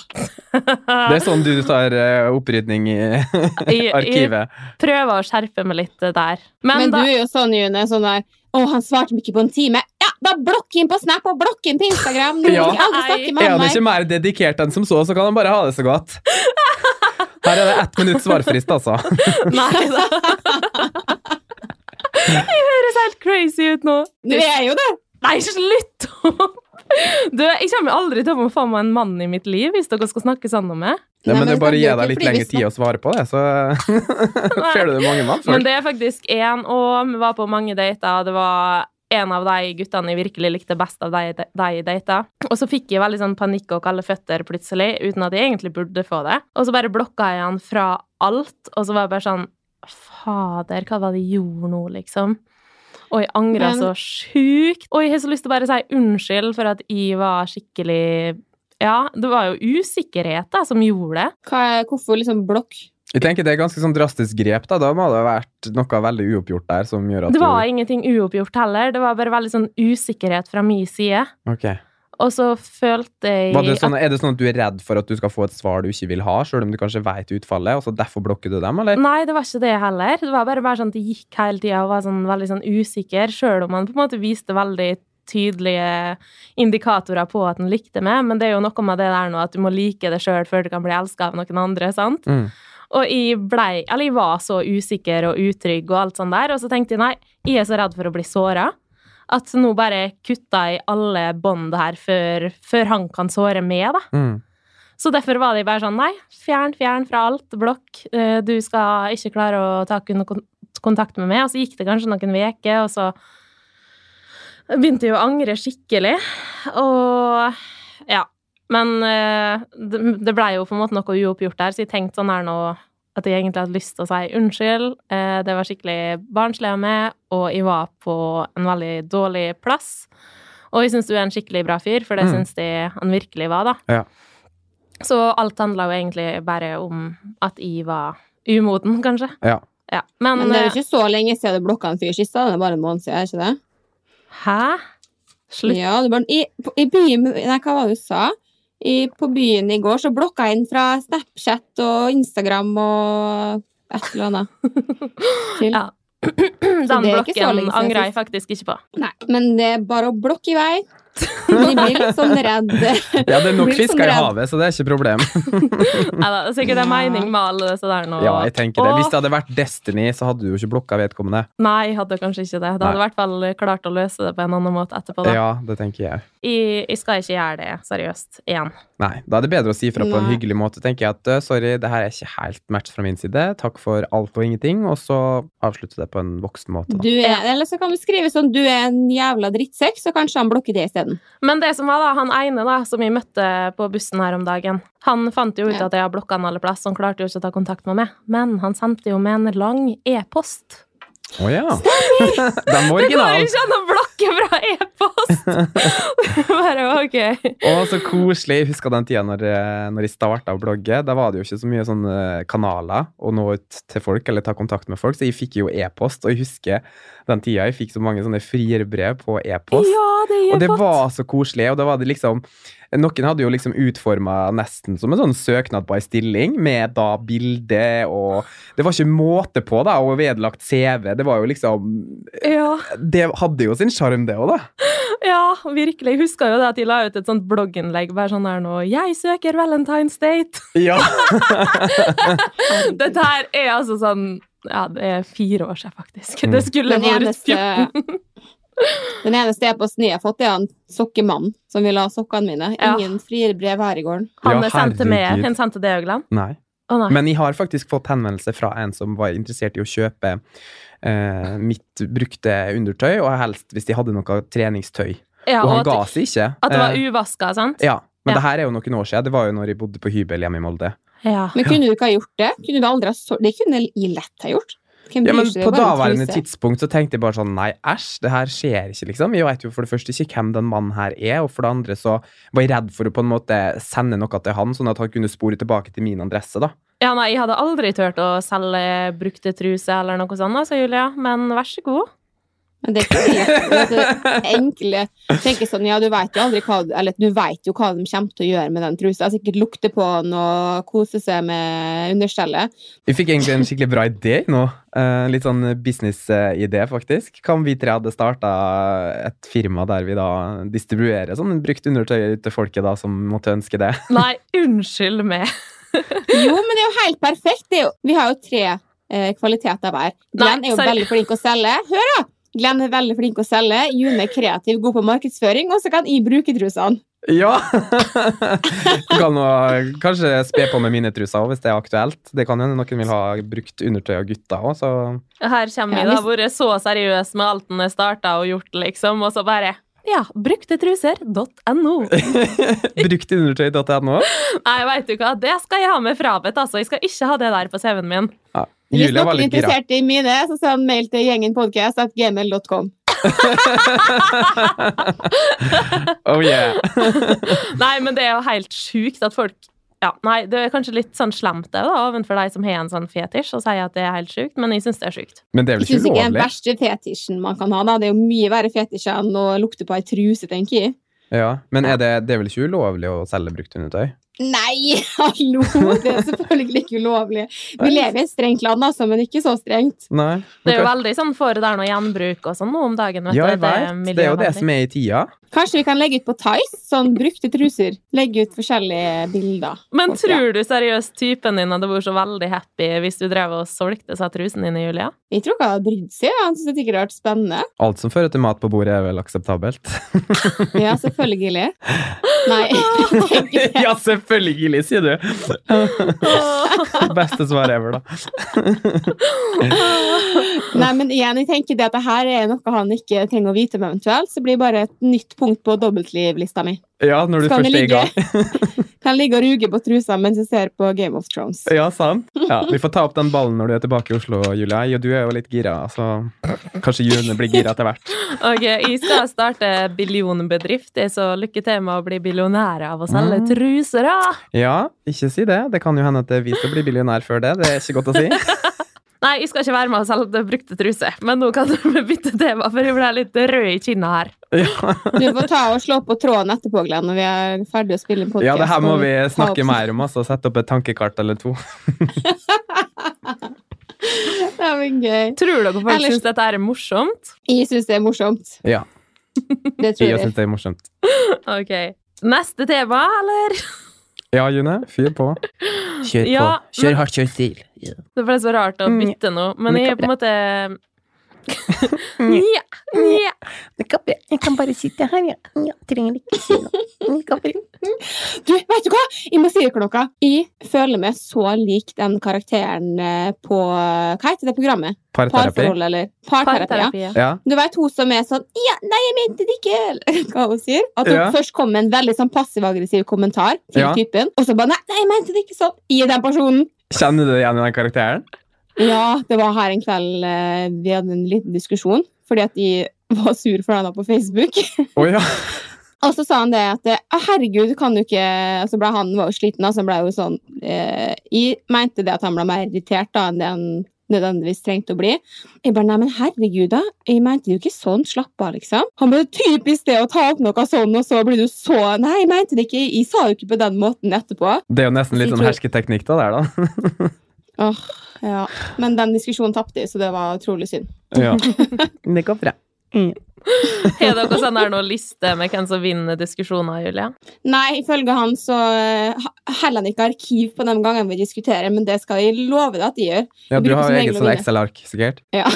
[SPEAKER 1] Det er sånn du tar eh, opprydning i
[SPEAKER 2] Jeg, jeg
[SPEAKER 1] arkivet.
[SPEAKER 2] prøver å skjerpe meg litt der. Men,
[SPEAKER 4] Men,
[SPEAKER 2] da,
[SPEAKER 4] du er jo sånn, June, sånn der Å, han svarte meg ikke på en time. Ja, da blokk inn på Snap og blokk inn på Instagram! Du
[SPEAKER 1] Ja.
[SPEAKER 4] må aldri snakke med
[SPEAKER 1] Er
[SPEAKER 4] han
[SPEAKER 1] han
[SPEAKER 4] her.
[SPEAKER 1] ikke mer dedikert enn som så, så kan han bare ha det så godt. Her er det ett minutts svarfrist, altså.
[SPEAKER 2] Nei da. Jeg høres helt crazy ut nå.
[SPEAKER 4] Du er jo det!
[SPEAKER 2] Nei, slutt opp! Du, jeg kommer aldri til å få meg en mann i mitt liv hvis dere skal snakke sånn om meg.
[SPEAKER 1] Nei,
[SPEAKER 4] Nei,
[SPEAKER 1] men
[SPEAKER 4] men
[SPEAKER 1] det bare
[SPEAKER 4] det
[SPEAKER 1] gir
[SPEAKER 4] er
[SPEAKER 1] deg
[SPEAKER 4] ikke
[SPEAKER 1] litt
[SPEAKER 4] fordi vi
[SPEAKER 1] lengre tid å svare på det, så får du det mange navn
[SPEAKER 2] Men
[SPEAKER 1] for.
[SPEAKER 2] det er faktisk én, og vi var på mange dater, og det var en av de guttene jeg virkelig likte best av de de jeg data. Og så fikk jeg veldig sånn panikk og kalde føtter plutselig, uten at jeg egentlig burde få det. Og så bare blokka jeg han fra alt, og så var jeg bare sånn Fader, hva var det jeg gjorde nå, liksom? Og jeg angra
[SPEAKER 4] Men-
[SPEAKER 2] så sjukt. Og jeg har så lyst til å bare si unnskyld for at jeg var skikkelig Ja, det var jo usikkerhet da, som gjorde det.
[SPEAKER 4] Hva er, hvorfor liksom blokk?
[SPEAKER 1] Jeg tenker det er ganske sånn drastisk grep, da. Da må det ha vært noe veldig uoppgjort der som gjør at
[SPEAKER 2] Det var ingenting uoppgjort heller. Det var bare veldig sånn usikkerhet fra min side.
[SPEAKER 1] du Ok.
[SPEAKER 2] Og så følte jeg
[SPEAKER 1] Var det sånn, er det sånn at du er redd for at du skal få et svar du ikke vil ha, sjøl om du kanskje veit utfallet, og så derfor blokker du dem,
[SPEAKER 2] at
[SPEAKER 4] Mm.
[SPEAKER 1] eller?
[SPEAKER 2] Nei, det var ikke det heller. Det var bare, bare sånn at det gikk hele tida og var sånn, veldig sånn usikker, sjøl om han på en måte viste veldig tydelige indikatorer på at han likte meg. Men det er jo noe med det der nå at du må like det sjøl før du kan bli elska av noen andre. sant?
[SPEAKER 1] Mm.
[SPEAKER 2] Og jeg blei, eller jeg var så usikker og utrygg og alt sånt der, og så tenkte jeg nei, jeg er så redd for å bli såra. At nå bare kutta jeg alle bånd her før, før han kan såre meg, da.
[SPEAKER 1] Mm.
[SPEAKER 2] Så derfor var de bare sånn nei, fjern, fjern fra alt, blokk. Eh, Du skal ikke klare å ta kun- kon- kontakt med meg. Og så gikk det kanskje noen uker, og så begynte jeg å angre skikkelig. Og ja. Men eh, det det ble jo på en måte noe uoppgjort der, så jeg tenkte sånn her nå at jeg egentlig hadde lyst til å si unnskyld. Eh, Det var skikkelig barnslig av meg, og jeg var på en veldig dårlig plass. Og jeg syns du er en skikkelig bra fyr, for det
[SPEAKER 1] Mm.
[SPEAKER 2] syns jeg han virkelig var, da. Så alt handla jo egentlig bare om at jeg var umoden, kanskje.
[SPEAKER 1] Ja.
[SPEAKER 2] Ja. Men,
[SPEAKER 4] Men det er jo ikke så lenge siden du blokka en fyr sist. da. Det er bare en måned siden, er det ikke det?
[SPEAKER 2] eh, Hæ? Slutt.
[SPEAKER 4] Ja, det var, i, på- i byen Nei, hva var det du sa? I, på byen i går så blokka jeg inn fra Snapchat og Instagram og et eller annet. Til.
[SPEAKER 2] Ja.
[SPEAKER 4] Så
[SPEAKER 2] Den
[SPEAKER 4] det er ikke så lenge
[SPEAKER 2] blokken
[SPEAKER 4] siden
[SPEAKER 2] angra jeg
[SPEAKER 4] sist.
[SPEAKER 2] faktisk ikke på.
[SPEAKER 4] Nei, men det er bare å blokke i vei. Men jeg blir litt sånn redd.
[SPEAKER 1] Ja, det er nok
[SPEAKER 4] Blir litt
[SPEAKER 1] fisker
[SPEAKER 4] sånn
[SPEAKER 1] i
[SPEAKER 4] redd.
[SPEAKER 1] havet, så det er ikke problem.
[SPEAKER 2] Eller, det er sikkert en
[SPEAKER 4] Ja.
[SPEAKER 2] mening med alle disse der nå.
[SPEAKER 1] Ja, jeg tenker det.
[SPEAKER 2] Åh,
[SPEAKER 1] Hvis det hadde vært Destiny, så hadde du jo ikke blokka vedkommende.
[SPEAKER 2] Nei, jeg hadde kanskje ikke det. Det hadde i
[SPEAKER 1] Nei.
[SPEAKER 2] hvert fall klart å løse det på en annen måte etterpå. Da.
[SPEAKER 1] Ja, det tenker jeg.
[SPEAKER 2] Jeg, jeg skal ikke gjøre det seriøst igjen.
[SPEAKER 1] Nei, da er det bedre å si fra på en
[SPEAKER 4] Nei.
[SPEAKER 1] hyggelig måte. tenker jeg at «Øh, sorry, det her er ikke helt match fra min side. Takk for alt og ingenting. Og så avslutte det på en voksen måte. Da.
[SPEAKER 4] Du er, eller så kan du skrive sånn du er en jævla drittsekk, så kanskje han blokker det isteden.
[SPEAKER 2] Men det som var da, han ene da, som jeg møtte på bussen her om dagen, han fant jo ut
[SPEAKER 4] Ja.
[SPEAKER 2] at jeg har blokka han alle plass, så han klarte jo ikke å ta kontakt med meg. Men han sendte jo med en lang e-post.
[SPEAKER 1] Å ja. Den var
[SPEAKER 2] Det går
[SPEAKER 1] original.
[SPEAKER 2] ikke an å blokke fra e-post! Bare ok.
[SPEAKER 1] Å, så koselig. Jeg husker den tida når, eh, når jeg starta å blogge. Da var det jo ikke så mye sånne kanaler å nå ut til folk eller ta kontakt med folk, så jeg fikk jo e-post. Og jeg husker den tida jeg fikk så mange sånne frierbrev på e-post.
[SPEAKER 2] Ja, det
[SPEAKER 1] Og
[SPEAKER 2] er
[SPEAKER 1] det
[SPEAKER 2] e-post.
[SPEAKER 1] var så koselig. Og da var det liksom Noen hadde jo liksom utforma nesten som en sånn søknad på ei stilling, med da bilde og Det var ikke måte på, da, og vedlagt CV. Det var jo liksom
[SPEAKER 2] Ja,
[SPEAKER 1] Det hadde jo sin sjarm, det òg, da.
[SPEAKER 2] ja, virkelig. Jeg husker jo det at de la ut et sånt blogginnlegg bare sånn her nå 'Jeg søker Valentine's Date'.
[SPEAKER 1] Ja.
[SPEAKER 2] Dette her er altså sånn Ja, det er fire år
[SPEAKER 1] Mm.
[SPEAKER 2] siden, faktisk. Det skulle
[SPEAKER 4] Den
[SPEAKER 2] vært
[SPEAKER 4] eneste,
[SPEAKER 2] 14.
[SPEAKER 4] den eneste e-posten jeg har fått, er han sokkemann som vil ha sokkene mine.
[SPEAKER 2] Ja.
[SPEAKER 4] Ingen frierbrev her i gården.
[SPEAKER 2] Han
[SPEAKER 1] Ja,
[SPEAKER 2] sendte meg
[SPEAKER 1] herregud.
[SPEAKER 2] Han sendte det òg, Glenn?
[SPEAKER 1] Nei.
[SPEAKER 2] Å nei.
[SPEAKER 1] Men jeg har faktisk fått henvendelse fra en som var interessert i å kjøpe eh, mitt brukte undertøy, og helst hvis de hadde noe treningstøy.
[SPEAKER 2] ja,
[SPEAKER 1] og
[SPEAKER 2] og
[SPEAKER 1] han ga
[SPEAKER 2] at,
[SPEAKER 1] seg ikke.
[SPEAKER 2] at det var
[SPEAKER 1] Eh,
[SPEAKER 2] uvaska, sant?
[SPEAKER 1] ja. Men
[SPEAKER 2] Ja.
[SPEAKER 1] det her er jo noen år siden. Det var jo når jeg bodde på hybel hjemme i Molde.
[SPEAKER 2] Ja.
[SPEAKER 4] Men kunne du ikke ha gjort det? Kunne du aldri ha så... Det kunne jeg lett ha gjort. Hvem
[SPEAKER 1] Ja,
[SPEAKER 4] bryr
[SPEAKER 1] men
[SPEAKER 4] seg? Det er
[SPEAKER 1] På
[SPEAKER 4] bare en
[SPEAKER 1] daværende
[SPEAKER 4] truse.
[SPEAKER 1] tidspunkt så tenkte jeg bare sånn Nei, æsj, det her skjer ikke, liksom. Jeg veit jo for det første ikke hvem den mannen her er, og for det andre så var jeg redd for å på en måte sende noe til han, sånn at han kunne spore tilbake til min adresse, da.
[SPEAKER 2] ja, nei, jeg hadde aldri turt å selge brukte truser eller noe sånt, altså, Julia. Men vær så god.
[SPEAKER 4] Men det er ikke lett. Det er det enkle tenker sånn, ja, du vet jo aldri hva, eller, du vet jo hva de kommer til å gjøre med den trusa. Sikkert lukte på den og kose seg med understellet.
[SPEAKER 1] Vi fikk egentlig en skikkelig bra idé nå. Eh, litt sånn business-idé, faktisk. Hva om vi tre hadde starta et firma der vi da distribuerer sånn brukt undertøy til folket da, som måtte ønske det?
[SPEAKER 2] Nei, unnskyld meg.
[SPEAKER 4] Jo, men det er jo helt perfekt. Det er jo, vi har jo tre eh, kvaliteter hver. Glenn
[SPEAKER 2] Nei,
[SPEAKER 4] er jo
[SPEAKER 2] sorry.
[SPEAKER 4] veldig flink å selge. Hør, da! Glenn er veldig flink å selge. June er kreativ, god på markedsføring, og så kan jeg bruke trusene.
[SPEAKER 1] Ja! kan nå kanskje spe på med mine truser òg, hvis det er aktuelt. Det kan hende noen vil ha brukt undertøy av gutta òg, så
[SPEAKER 2] Her kommer vi,
[SPEAKER 4] Ja,
[SPEAKER 2] da. Vært så seriøs med alt den har starta og gjort, liksom, og så bare ja, bruktetruser.no.
[SPEAKER 1] Bruktundertøy.no.
[SPEAKER 2] Nei, veit du hva, det skal jeg ha med frabedt, altså. Jeg skal ikke ha det der på CV-en min.
[SPEAKER 1] Ja.
[SPEAKER 4] Hvis
[SPEAKER 1] Julia var
[SPEAKER 4] noen er
[SPEAKER 1] litt gira.
[SPEAKER 4] interessert i mine, så send mail til gjengenpodkast.gmail.com.
[SPEAKER 1] Oh yeah.
[SPEAKER 2] Nei, men det er jo helt sjukt at folk ja, Nei, det er kanskje litt sånn slemt det, da, overfor de som har en sånn fetisj, og sier at det er helt sjukt, men jeg syns det er sjukt.
[SPEAKER 1] Men det er vel
[SPEAKER 4] Jeg
[SPEAKER 1] ikke
[SPEAKER 4] syns ikke det er den
[SPEAKER 1] ulovlig?
[SPEAKER 4] verste fetisjen man kan ha. Da. Det er jo mye verre fetisj enn å lukte på ei truse, tenker jeg.
[SPEAKER 1] Ja. Men er det, det er vel ikke ulovlig å selge brukt undertøy?
[SPEAKER 4] Nei, hallo! Det er selvfølgelig ikke ulovlig. Vi lever i et strengt land, altså, men ikke så strengt.
[SPEAKER 1] Nei.
[SPEAKER 2] Det er jo veldig sånn for der noe gjenbruk og sånn nå om dagen, vet
[SPEAKER 1] Ja, jeg
[SPEAKER 2] du.
[SPEAKER 1] vet. Det er jo det
[SPEAKER 2] miljøvennlig.
[SPEAKER 1] som er i tida.
[SPEAKER 4] Kanskje vi kan legge ut på Tice, sånn brukte truser. Legge ut forskjellige bilder.
[SPEAKER 2] Men tror du seriøst typen din hadde vært så veldig happy hvis du drev og solgte seg trusene dine, Julia?
[SPEAKER 4] Jeg tror ikke han hadde brydd seg. Han syntes det sikkert hadde vært spennende.
[SPEAKER 1] Alt som fører til mat på bordet, er vel akseptabelt?
[SPEAKER 4] Ja, selvfølgelig. Nei, jeg tenker det.
[SPEAKER 1] ja, selvfølgelig, sier du! Beste svar ever, da.
[SPEAKER 4] Nei, men igjen, jeg tenker det at det her er noe han ikke trenger å vite om eventuelt, så blir det bare et nytt punkt på dobbeltlivlista mi.
[SPEAKER 1] Ja, når du
[SPEAKER 4] Skal
[SPEAKER 1] først er
[SPEAKER 4] det
[SPEAKER 1] i
[SPEAKER 4] ligge?
[SPEAKER 1] gang.
[SPEAKER 4] Kan ligge og ruge på trusa mens jeg ser på Game of Thrones.
[SPEAKER 1] Ja, sant. Ja, vi får ta opp den ballen når du er tilbake i Oslo, Julia. Ja, du er jo litt gira, så kanskje June blir gira etter hvert.
[SPEAKER 2] Ok, jeg skal starte billionbedrift, så lykke til med å bli billionær av å selge
[SPEAKER 1] Mm.
[SPEAKER 2] truser, da!
[SPEAKER 1] Ja, ikke si det. Det kan jo hende at det viser å bli billionær før det. Det er ikke godt å si.
[SPEAKER 2] Nei, jeg skal ikke være med og selge brukte truser, men nå kan du bytte tema, for jeg ble litt rød i kinna her.
[SPEAKER 1] Ja,
[SPEAKER 4] Du får ta og slå på tråden etterpå, Glenn, når vi er ferdig å spille en podcast.
[SPEAKER 1] ja det her må vi
[SPEAKER 4] Ta opp-
[SPEAKER 1] snakke mer om, altså. Sette opp et tankekart eller to.
[SPEAKER 4] Det er vel gøy.
[SPEAKER 2] Tror dere folk
[SPEAKER 4] Ellers-
[SPEAKER 2] syns dette er morsomt?
[SPEAKER 4] Jeg syns det er morsomt.
[SPEAKER 1] Ja,
[SPEAKER 4] Det tror
[SPEAKER 1] jeg
[SPEAKER 4] jeg.
[SPEAKER 1] syns det er morsomt.
[SPEAKER 2] Ok. Neste tema, eller?
[SPEAKER 1] Ja, June, fyr på. Kjør
[SPEAKER 2] Ja, men-
[SPEAKER 1] hardt, kjør stil.
[SPEAKER 2] Det ble så rart å
[SPEAKER 1] Mm.
[SPEAKER 2] bytte nå, men
[SPEAKER 1] Men
[SPEAKER 2] jeg er
[SPEAKER 1] kan- Mm.
[SPEAKER 2] på en måte Nja, nja.
[SPEAKER 3] Jeg kan bare sitte her, ja. ja trenger ikke si noe. Jeg kan bare
[SPEAKER 4] Du, vet du hva? Jeg må si dere noe. Jeg føler meg så lik den karakteren eh, på Hva heter det programmet?
[SPEAKER 1] Parterapi.
[SPEAKER 4] Parforhold, eller? Parterapi. ja.
[SPEAKER 2] Parterapi. ja.
[SPEAKER 1] Ja.
[SPEAKER 4] Du vet hun som er sånn Ja, nei, jeg mente det ikke! Eller hva hun sier. At hun
[SPEAKER 1] Ja.
[SPEAKER 4] først kom med en veldig sånn passiv-aggressiv kommentar til
[SPEAKER 1] Ja.
[SPEAKER 4] typen, og så bare Nei, nei, jeg mente det ikke sånn! I den personen.
[SPEAKER 1] Kjenner du deg igjen i den karakteren?
[SPEAKER 4] Ja, det var her en kveld eh, vi hadde en liten diskusjon, fordi at de var sur for henne på Facebook.
[SPEAKER 1] Å ja.
[SPEAKER 4] Og så sa han det at «Å, herregud, kan du ikke Og så ble han var jo sliten, da, så han ble jo sånn eh, Jeg mente det at han ble mer irritert da enn det han nødvendigvis trengte å bli. Jeg bare nei, men herregud, da. Jeg mente det jo ikke sånn. Slapp av, liksom. Han bare typisk det å ta opp noe sånn, og så blir du så Nei, jeg mente det ikke. Jeg sa jo ikke på den måten etterpå.
[SPEAKER 1] Det er jo nesten litt sånn hersketeknikk da, der, da.
[SPEAKER 4] Åh, ja. Men den diskusjonen tapte jeg, så det var utrolig synd.
[SPEAKER 1] Ja. Det går bra.
[SPEAKER 2] Har dere sånn der noen liste med hvem som vinner diskusjoner, Julia?
[SPEAKER 4] Nei, ifølge han så eh, ha- heller han ikke arkiv på de gangene vi diskuterer, men det skal jeg love deg at de gjør.
[SPEAKER 1] Ja,
[SPEAKER 4] Jeg
[SPEAKER 1] du
[SPEAKER 4] bruker
[SPEAKER 1] har
[SPEAKER 4] som
[SPEAKER 1] jo
[SPEAKER 4] regel
[SPEAKER 1] eget
[SPEAKER 4] å
[SPEAKER 1] sånn
[SPEAKER 4] vinne.
[SPEAKER 1] Excel-ark, sikkert.
[SPEAKER 4] Ja.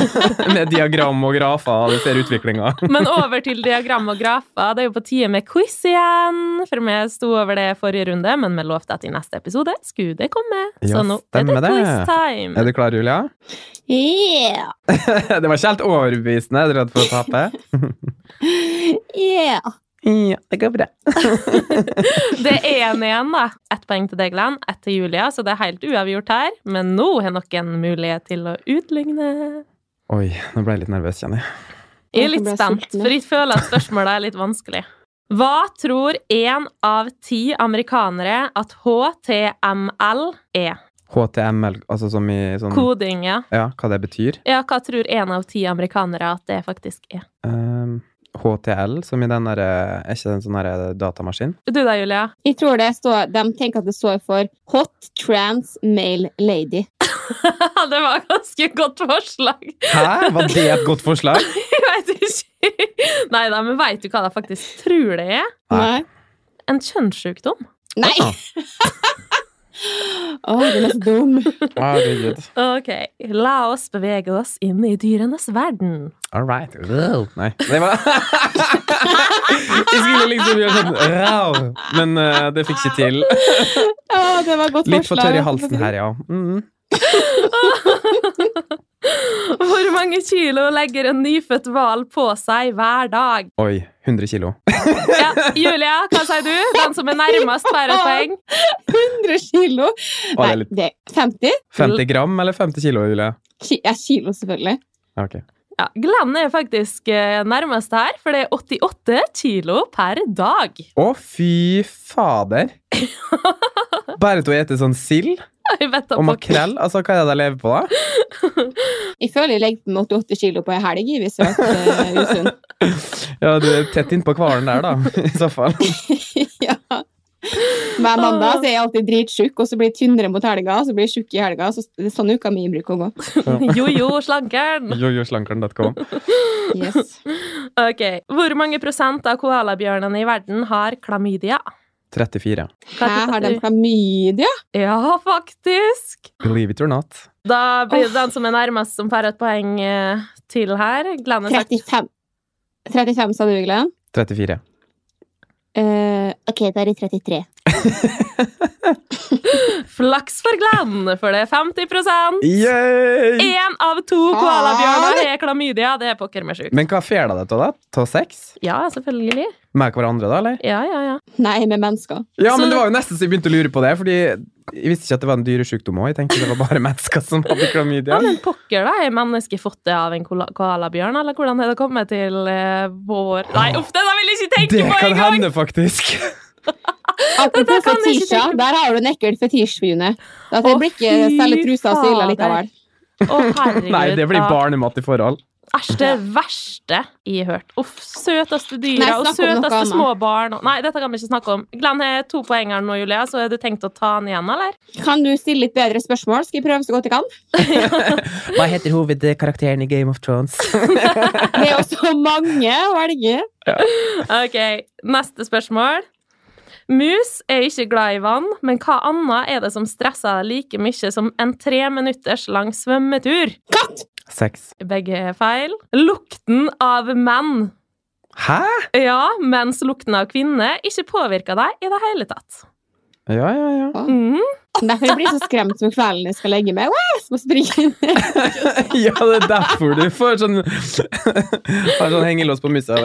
[SPEAKER 1] Med diagram og grafer, og du ser utviklinga.
[SPEAKER 2] Men over til diagram og grafer. Det er jo på tide med quiz igjen. For vi sto over det forrige runde, men vi lovte at i neste episode skulle det komme.
[SPEAKER 1] Ja,
[SPEAKER 2] Så nå er
[SPEAKER 1] stemmer
[SPEAKER 2] det
[SPEAKER 1] det. Er
[SPEAKER 2] quiz-time.
[SPEAKER 1] du klar, Julia?
[SPEAKER 4] Yeah!
[SPEAKER 1] Det var ikke helt overbevisende. Er du redd for å tape?
[SPEAKER 4] Yeah!
[SPEAKER 1] Ja, det går bra.
[SPEAKER 2] Det er én igjen, da. Ett poeng til deg, Glenn. Ett til Julia, så det er helt uavgjort her. Men nå har noen mulighet til å utligne.
[SPEAKER 1] Oi, nå ble jeg litt nervøs, kjenner jeg.
[SPEAKER 2] Jeg er litt spent, for jeg føler at spørsmålet er litt vanskelig. Hva tror én av ti amerikanere at HTML er?
[SPEAKER 1] HTML, altså som i sånn
[SPEAKER 2] Koding, ja.
[SPEAKER 1] Ja, hva det betyr.
[SPEAKER 2] Ja, hva tror én av ti amerikanere at det faktisk er?
[SPEAKER 1] Ehm, HTL, som i den derre Er ikke det en sånn derre datamaskin?
[SPEAKER 2] Du da, Julia?
[SPEAKER 4] Jeg tror det står, de tenker at det står for Hot Trans Male Lady.
[SPEAKER 2] det var et ganske godt forslag.
[SPEAKER 1] Hæ? Var det et godt forslag?
[SPEAKER 2] Jeg veit ikke. Nei da, men veit du hva de faktisk tror det er?
[SPEAKER 1] Nei. Ah.
[SPEAKER 2] En kjønnssykdom.
[SPEAKER 4] Nei! Nei. Å, den er så dum.
[SPEAKER 1] Herregud.
[SPEAKER 2] Ok, la oss bevege oss inn i dyrenes verden.
[SPEAKER 1] All right. Wow. Nei, det var Jeg skulle liksom gjøre sånn wow, men eh, det fikk ikke til.
[SPEAKER 4] Å, det var et godt
[SPEAKER 1] Litt for
[SPEAKER 4] forslag.
[SPEAKER 1] tørr i halsen her, ja. Mm.
[SPEAKER 2] Hvor mange kilo legger en nyfødt hval på seg hver dag?
[SPEAKER 1] Oi, 100 kilo.
[SPEAKER 2] Ja, Julia, hva sier du? Den som er nærmest, får et poeng.
[SPEAKER 4] 100 kilo.
[SPEAKER 1] Å, det
[SPEAKER 4] Nei,
[SPEAKER 1] er litt-
[SPEAKER 4] det er 50?
[SPEAKER 1] 50 gram eller 50 kilo, Julie?
[SPEAKER 4] Ki ja, kilo, selvfølgelig.
[SPEAKER 1] Ja, Ok.
[SPEAKER 2] Ja, Glenn er faktisk eh, nærmest her, for det er 88 kilo per dag.
[SPEAKER 1] Å, fy fader! Bare til å ete sånn sild
[SPEAKER 2] Jeg vet da
[SPEAKER 1] og
[SPEAKER 2] pokker.
[SPEAKER 1] makrell? Altså, hva er det jeg lever på, da?
[SPEAKER 4] Jeg føler jeg legger på meg 88 kilo på ei helg jeg, hvis jeg har vært eh, usunn.
[SPEAKER 1] Ja, du er tett innpå hvalen der, da, i så fall.
[SPEAKER 4] ja. Hver mandag så er jeg alltid dritsjuk, og så blir jeg tynnere mot helga, og så blir jeg tjukk i helga. Så det er sånn uka mi bruker å gå.
[SPEAKER 2] Jojo, slankeren.
[SPEAKER 1] Jojoslankeren.com.
[SPEAKER 4] Yes.
[SPEAKER 2] Ok, Hvor mange prosent av koalabjørnene i verden har klamydia?
[SPEAKER 1] 34.
[SPEAKER 2] Hva
[SPEAKER 4] Her har de
[SPEAKER 2] tror du?
[SPEAKER 4] klamydia.
[SPEAKER 2] Ja, faktisk!
[SPEAKER 1] Believe it or not.
[SPEAKER 2] Da blir det
[SPEAKER 4] Åh.
[SPEAKER 2] den som er nærmest, som får et poeng eh, til her. Glenn har sagt
[SPEAKER 4] 35. 35, sa du, Glenn?
[SPEAKER 1] 34.
[SPEAKER 4] Eh, ok, da er det 33.
[SPEAKER 2] flaks for Glenn, for det er 50
[SPEAKER 1] Yay!
[SPEAKER 2] Én av to koalabjørner har klamydia. Det er pokker meg sjukt.
[SPEAKER 1] Men hva fjerna det til, da? Til sex?
[SPEAKER 2] Ja, selvfølgelig.
[SPEAKER 1] Med hverandre, da, eller?
[SPEAKER 2] Ja, ja, ja.
[SPEAKER 4] Nei, med mennesker.
[SPEAKER 1] Ja,
[SPEAKER 2] Så-
[SPEAKER 1] men det var jo nesten så jeg begynte å lure på det, fordi jeg visste ikke at det var en dyresjukdom òg. Jeg tenkte det var bare mennesker som hadde
[SPEAKER 2] ja.
[SPEAKER 1] klamydia.
[SPEAKER 2] Men pokker, da. Har mennesket fått det av en koala- koalabjørn? Eller hvordan har det kommet til eh, vår Nei, uff, det der vil jeg ikke
[SPEAKER 1] Det
[SPEAKER 2] tenke på
[SPEAKER 1] kan
[SPEAKER 2] engang!
[SPEAKER 1] hende, faktisk.
[SPEAKER 4] Apropos
[SPEAKER 2] kan jeg ikke
[SPEAKER 4] fetisjer,
[SPEAKER 2] tenke på.
[SPEAKER 4] der har du en ekkel fetisj, June.
[SPEAKER 2] Å,
[SPEAKER 4] At det blir ikke
[SPEAKER 2] fy
[SPEAKER 4] selge trusa og
[SPEAKER 2] fader.
[SPEAKER 4] syla likevel.
[SPEAKER 2] Å, herregud.
[SPEAKER 1] Nei, det blir
[SPEAKER 2] da.
[SPEAKER 1] barnemat i forhold.
[SPEAKER 2] Æsj, det verste jeg har hørt. Uff, søteste
[SPEAKER 4] Nei,
[SPEAKER 2] dyra og
[SPEAKER 4] snakk om noe
[SPEAKER 2] søteste
[SPEAKER 4] annet.
[SPEAKER 2] små barn. og- Nei, dette kan vi ikke snakke om. Glenn har to poeng her nå, Julia, så har du tenkt å ta den igjen, eller?
[SPEAKER 4] Kan du stille litt bedre spørsmål? Skal jeg prøve så godt jeg kan?
[SPEAKER 1] Hva heter hovedkarakteren i Game of Thrones?
[SPEAKER 4] Det er jo så mange å velge.
[SPEAKER 2] Ok, neste spørsmål. Mus er ikke glad i vann, men hva annet er det som stresser deg like mye som en tre minutters lang svømmetur?
[SPEAKER 4] Katt!
[SPEAKER 1] Sex.
[SPEAKER 2] Begge er feil. Lukten av menn.
[SPEAKER 1] Hæ?
[SPEAKER 2] Ja, mens lukten av kvinner ikke påvirker deg i det hele tatt.
[SPEAKER 1] Ja, ja, ja.
[SPEAKER 2] Mm.
[SPEAKER 4] Derfor jeg blir jeg så skremt om kvelden jeg skal legge meg. Wow, så må jeg springe inn.
[SPEAKER 1] Ja, det er derfor du får sånn Har sånn hengelås på musa.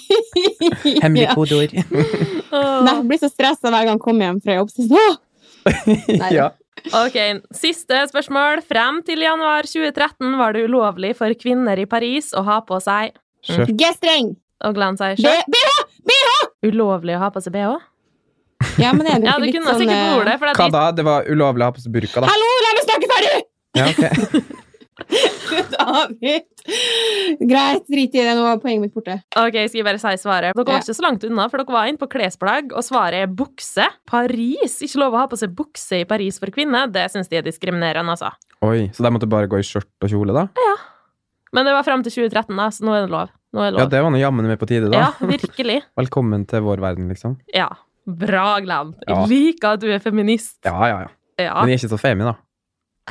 [SPEAKER 4] Ja.
[SPEAKER 1] kodeord.
[SPEAKER 4] Nei, jeg blir så stressa hver gang jeg kommer hjem fra jobb. Så, Åh! Nei,
[SPEAKER 1] Ja.
[SPEAKER 2] Ok, Siste spørsmål. Frem til januar 2013 var det ulovlig for kvinner i Paris å ha på seg
[SPEAKER 1] Skjørt.
[SPEAKER 4] G-streng!
[SPEAKER 2] Og Glenn sier
[SPEAKER 4] B-
[SPEAKER 2] sjøl
[SPEAKER 4] B-
[SPEAKER 2] ulovlig å ha på seg bh.
[SPEAKER 4] Ja, men er det
[SPEAKER 2] Ja, du
[SPEAKER 4] ikke litt
[SPEAKER 2] kunne
[SPEAKER 4] sånn
[SPEAKER 2] sikkert
[SPEAKER 4] eh,
[SPEAKER 2] ordet. For
[SPEAKER 1] Hva
[SPEAKER 2] at de,
[SPEAKER 1] da? Det var ulovlig å ha på seg burka, da?
[SPEAKER 4] Hallo, la meg snakke ferdig!
[SPEAKER 1] Ja, ok.
[SPEAKER 4] David. Greit, drit i det. Nå var poenget mitt borte.
[SPEAKER 2] ok, skal jeg bare si svaret? Dere
[SPEAKER 4] Ja.
[SPEAKER 2] var ikke så langt unna, for dere var inne på klesplagg, og svaret er bukse. Paris! Ikke lov å ha på seg bukse i Paris for kvinner. Det syns de er diskriminerende, altså.
[SPEAKER 1] Oi, så de måtte bare gå i skjørt og kjole, da?
[SPEAKER 2] Men det var frem til 2013, da, så nå er det lov. Nå er det
[SPEAKER 1] Ja,
[SPEAKER 2] lov.
[SPEAKER 1] det var nå jammen meg på tide, da.
[SPEAKER 2] Ja, virkelig.
[SPEAKER 1] Velkommen til vår verden, liksom.
[SPEAKER 2] Ja. Bra, Glenn.
[SPEAKER 1] Ja.
[SPEAKER 2] Jeg liker at du er feminist.
[SPEAKER 1] Ja, ja, ja.
[SPEAKER 2] Ja.
[SPEAKER 1] Men jeg er ikke så femi, da.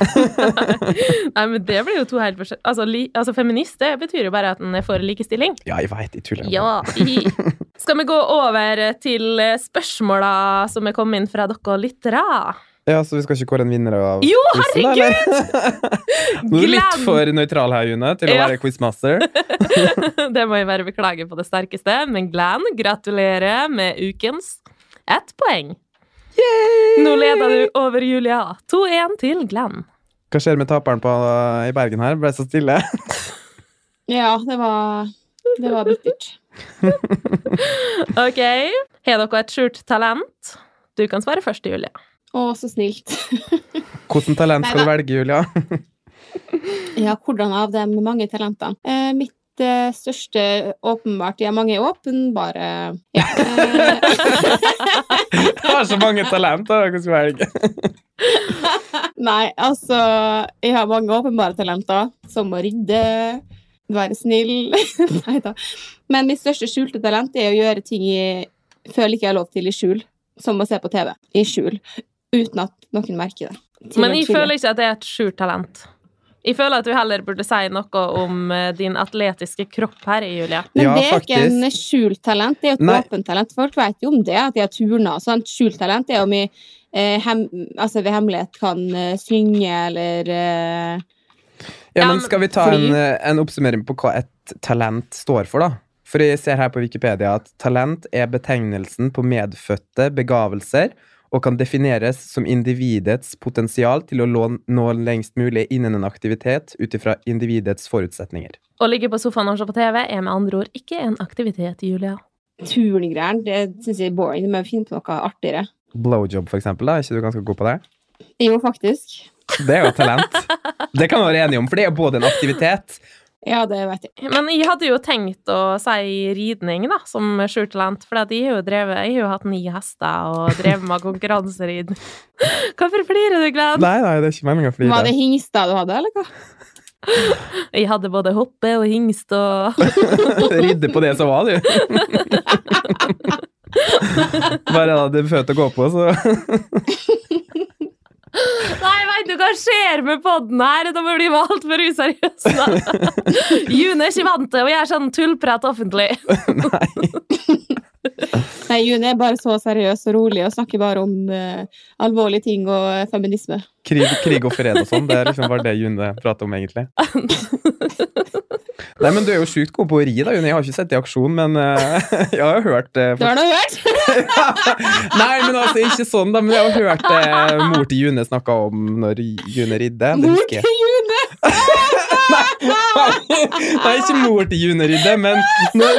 [SPEAKER 2] Nei, men det blir jo to helt forskjellige altså, li... altså, feminist, det betyr jo bare at en er for likestilling.
[SPEAKER 1] Ja, jeg veit, jeg tuller.
[SPEAKER 2] Ja. Skal vi gå over til spørsmåla som er kommet inn fra dere lyttere?
[SPEAKER 1] Ja, så vi skal ikke kåre en vinner av
[SPEAKER 2] Jo,
[SPEAKER 1] quizen, da, eller? Nå er du litt
[SPEAKER 2] Glem!
[SPEAKER 1] for nøytral her, June, til å
[SPEAKER 2] Ja.
[SPEAKER 1] være quizmaster.
[SPEAKER 2] Det må jeg bare beklage på det sterkeste. Men Glenn, gratulerer med ukens ett poeng. Nå leder du over Julia. 2-1 til Glenn.
[SPEAKER 1] Hva skjer med taperen på, eh, i Bergen her? Ble så stille.
[SPEAKER 4] Ja, det var, det var bittert.
[SPEAKER 2] Ok. Har dere et skjult talent? Du kan svare først, Julia.
[SPEAKER 4] Å, så snilt.
[SPEAKER 1] Hvilket talent skal du velge, Julia?
[SPEAKER 4] Ja, hvordan av de mange talentene? Eh, mitt eh, største åpenbart Jeg er mange åpenbare Ja. Eh,
[SPEAKER 1] Du har så mange talent, da. Hva skal du velge?
[SPEAKER 4] nei, altså Jeg har mange åpenbare talenter, som å rydde, være snill Nei da. Men mitt største skjulte talent er å gjøre ting jeg føler ikke jeg har lov til i skjul, som å se på TV i skjul, uten at noen merker det. Til
[SPEAKER 2] Men
[SPEAKER 4] en
[SPEAKER 2] jeg
[SPEAKER 4] skjul.
[SPEAKER 2] føler ikke at det er et skjult talent. Jeg føler at du heller burde si noe om eh, din atletiske kropp her, Julia.
[SPEAKER 4] Men
[SPEAKER 1] Ja,
[SPEAKER 4] det er ikke
[SPEAKER 1] faktisk.
[SPEAKER 4] en skjult talent, det er jo et
[SPEAKER 1] Nei.
[SPEAKER 4] åpent talent. Folk vet jo om det, at de har turna og sånt. Skjult talent er jo om vi eh, hem, altså ved hemmelighet kan eh, synge eller eh,
[SPEAKER 1] Ja,
[SPEAKER 2] Ja,
[SPEAKER 1] men
[SPEAKER 2] men-
[SPEAKER 1] skal vi ta
[SPEAKER 4] Fordi-
[SPEAKER 1] en, eh, en oppsummering på hva et talent står for, da? For jeg ser her på Wikipedia at talent er betegnelsen på medfødte begavelser og kan defineres som individets potensial til å lå- nå lengst mulig innen en aktivitet ut ifra individets forutsetninger.
[SPEAKER 2] Å ligge på sofaen og se på TV er med andre ord ikke en aktivitet, Julia.
[SPEAKER 4] turngreier. Det syns jeg er boring. Du må finne på noe artigere.
[SPEAKER 1] Blowjob, for eksempel. Da. Er ikke du ganske god på det?
[SPEAKER 4] Jo, faktisk.
[SPEAKER 1] Det er jo et talent. Det kan vi være enige om, for det er jo både en aktivitet
[SPEAKER 4] Ja, det vet jeg.
[SPEAKER 2] Men jeg hadde jo tenkt å si ridning, da, som skjult talent. For at jeg har jo drevet Jeg har jo hatt ni hester og drevet med konkurranseridning. Hvorfor flirer du, Glenn?
[SPEAKER 1] Nei, nei, det er ikke meninga å
[SPEAKER 4] Var det
[SPEAKER 1] flire.
[SPEAKER 4] hingsta du hadde, eller hva?
[SPEAKER 2] Jeg hadde både hoppe og hingst og
[SPEAKER 1] Ridde på det som var, du. Bare hadde født å gå på, så
[SPEAKER 2] Nei, veit du hva skjer med podden her? Da blir vi altfor useriøse. June er ikke vant til å gjøre sånn tullprat offentlig.
[SPEAKER 4] Nei, June er bare så seriøs og rolig og snakker bare om eh, alvorlige ting og eh, feminisme.
[SPEAKER 1] krig, krig og fred og sånn. Det er liksom bare det June prater om, egentlig. Nei, men du er jo sjukt god på å ri, da, June. Jeg har ikke sett det i aksjon, men eh, jeg har jo hørt eh,
[SPEAKER 4] Du har nå hørt?
[SPEAKER 1] Nei, men altså, ikke sånn, da. Men jeg har hørt eh, mor til June snakke om når June ridde. Det
[SPEAKER 4] Mor
[SPEAKER 1] husker jeg.
[SPEAKER 4] til June!
[SPEAKER 1] Nei, ikke mor til June Rydde, men når,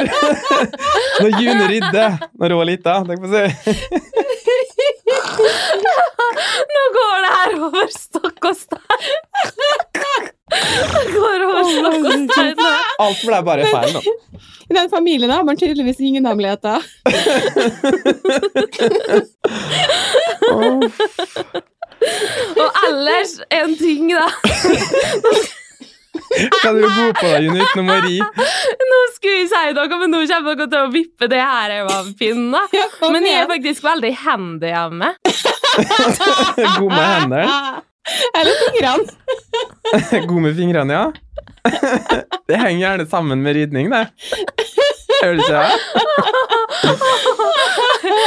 [SPEAKER 1] når June Rydde, når hun var lita tenk på å si.
[SPEAKER 2] Nå går det her over stokk og stein. Det går over stokk og stein. nå.
[SPEAKER 1] Alt ble bare feil nå.
[SPEAKER 4] I den familien har man tydeligvis ingen hemmeligheter.
[SPEAKER 1] Åh,
[SPEAKER 2] Og ellers en ting, da.
[SPEAKER 1] Hva er du god på da, June, utenom å ri?
[SPEAKER 2] Nå skulle jeg si noe, men nå kommer dere til å vippe det her over av pinnen. da.
[SPEAKER 4] Ja, kom
[SPEAKER 2] Men jeg er
[SPEAKER 4] igjen.
[SPEAKER 2] faktisk veldig handy av meg.
[SPEAKER 1] God med hendene?
[SPEAKER 4] Ah, Eller fingrene.
[SPEAKER 1] God med fingrene, ja? Det henger gjerne sammen med ridning, det. Gjør det ikke? det?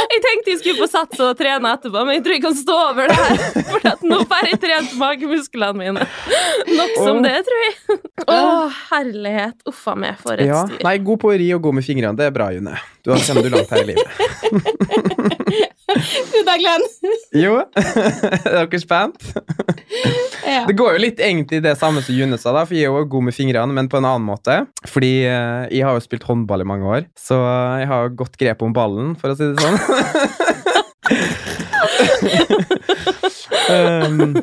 [SPEAKER 2] Jeg tenkte jeg skulle få satse og trene etterpå, men jeg tror jeg kan stå over det her. For at nå får jeg trent magemusklene mine. Nok som det, tror jeg. Å, herlighet. Uff a meg, for et
[SPEAKER 1] Ja.
[SPEAKER 2] styr.
[SPEAKER 1] Nei, god på å ri og god med fingrene. Det er bra, June. Du har kjenner du langt her i livet.
[SPEAKER 4] Du da, Glenn.
[SPEAKER 1] Jo, er dere spent?
[SPEAKER 4] Ja.
[SPEAKER 1] Det går jo litt egentlig det samme som June sa, da, for jeg er jo god med fingrene, men på en annen måte. Fordi eh, jeg har jo spilt håndball i mange år, så jeg har godt grep om ballen, for å si det sånn. um,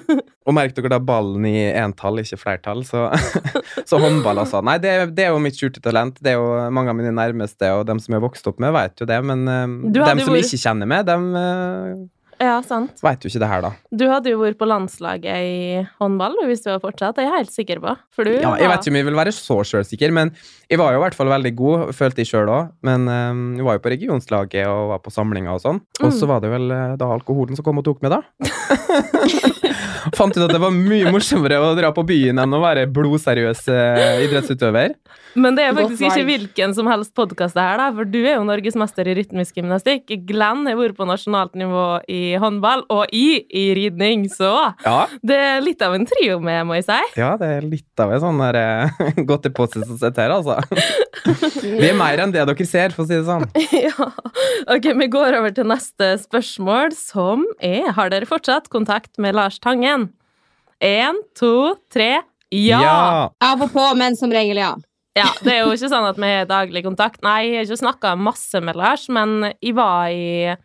[SPEAKER 1] og merk dere da ballen i entall, ikke flertall, så, så håndball altså. Nei, det, det er jo mitt skjulte talent. Det er jo mange av mine nærmeste og dem som jeg har vokst opp med, vet jo det, men eh,
[SPEAKER 2] Du hadde
[SPEAKER 1] dem som
[SPEAKER 2] vært-
[SPEAKER 1] jeg ikke kjenner med, dem eh,
[SPEAKER 2] Ja, sant.
[SPEAKER 1] Veit du ikke det her, da?
[SPEAKER 2] Du hadde jo vært på landslaget i håndball du, hvis du hadde fortsatt. Det er jeg helt sikker på. For du
[SPEAKER 1] Ja, jeg
[SPEAKER 2] var-
[SPEAKER 1] vet ikke om jeg vil være så sjølsikker, men jeg var jo i hvert fall veldig god, følte jeg sjøl òg. Men eh, jeg var jo på regionslaget og var på samlinger og sånn. Og så
[SPEAKER 2] Mm.
[SPEAKER 1] var det vel eh, da alkoholen som kom og tok meg, da. Fant ut at det var mye morsommere å dra på byen enn å være blodseriøs eh, idrettsutøver.
[SPEAKER 2] Men det er
[SPEAKER 4] Godt
[SPEAKER 2] faktisk ikke
[SPEAKER 4] valg.
[SPEAKER 2] hvilken som helst podkast det her, da. For du er jo norgesmester i rytmisk gymnastikk. Glenn har vært på nasjonalt nivå i håndball, og i i ridning, så
[SPEAKER 1] Ja,
[SPEAKER 2] det er litt av en trio med, må jeg si.
[SPEAKER 1] ja det er litt av en sånn der eh, godtepose som sitter her, altså. Vi er mer enn det dere ser, for å si det sånn.
[SPEAKER 2] Ja. Ok, vi går over til neste spørsmål, som er Har dere fortsatt kontakt med Lars Tangen? Én, to, tre. Ja! ja!
[SPEAKER 4] Av og på, men som regel, ja.
[SPEAKER 2] Det er jo ikke sånn at vi har daglig kontakt. Nei, jeg har ikke snakka masse med Lars, men jeg var i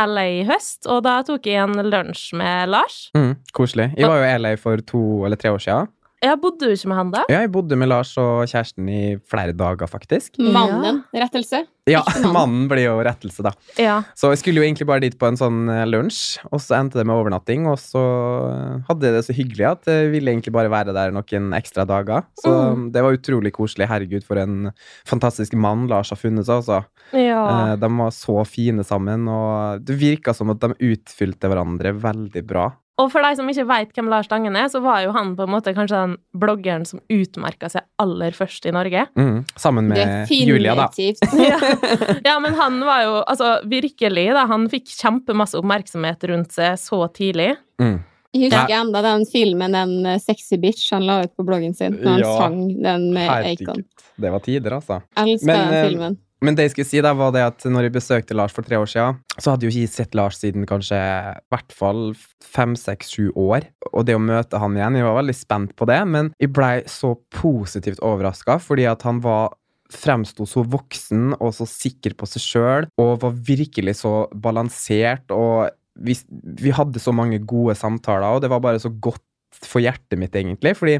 [SPEAKER 2] LA i høst, og da tok jeg en lunsj med Lars.
[SPEAKER 1] Mm, koselig. Jeg var jo i LA for to eller tre år siden.
[SPEAKER 2] Jeg bodde jo ikke med han da.
[SPEAKER 1] Ja, jeg bodde med Lars og kjæresten i flere dager, faktisk.
[SPEAKER 4] Mannen. Rettelse.
[SPEAKER 1] Ja,
[SPEAKER 4] mannen.
[SPEAKER 1] mannen blir jo rettelse, da.
[SPEAKER 2] Ja.
[SPEAKER 1] Så jeg skulle jo egentlig bare dit på en sånn eh, lunsj, og så endte det med overnatting, og så eh, hadde jeg det så hyggelig at jeg ville egentlig bare være der noen ekstra dager. Så
[SPEAKER 2] Mm.
[SPEAKER 1] det var utrolig koselig. Herregud, for en fantastisk mann Lars har funnet seg, altså.
[SPEAKER 2] ja.
[SPEAKER 1] Eh, De var så fine sammen, og det virka som at de utfylte hverandre veldig bra.
[SPEAKER 2] Og for deg som ikke veit hvem Lars Tangen er, så var jo han på en måte kanskje den bloggeren som utmerka seg aller først i Norge.
[SPEAKER 1] Mm. Sammen med Julia, da.
[SPEAKER 4] Definitivt.
[SPEAKER 2] ja. ja, men han var jo altså, virkelig da, Han fikk kjempemasse oppmerksomhet rundt seg så tidlig.
[SPEAKER 1] Mm.
[SPEAKER 4] Jeg husker
[SPEAKER 1] Ja.
[SPEAKER 4] enda den filmen, den eh, sexy bitch, han la ut på bloggen sin. Når han
[SPEAKER 1] Ja.
[SPEAKER 4] sang den med
[SPEAKER 1] Mm.
[SPEAKER 4] Acon.
[SPEAKER 1] Herregud. Det var tider, altså.
[SPEAKER 4] Elsker
[SPEAKER 1] Men, eh,
[SPEAKER 4] den filmen.
[SPEAKER 1] Men det jeg skulle si da, var det at når jeg besøkte Lars for tre år siden, så hadde jo ikke jeg sett Lars siden kanskje i hvert fall fem, seks, sju år. Og det å møte han igjen, jeg var veldig spent på det, men jeg blei så positivt overraska fordi at han var Fremsto så voksen og så sikker på seg sjøl, og var virkelig så balansert. Og vi, vi hadde så mange gode samtaler, og det var bare så godt for hjertet mitt, egentlig. Fordi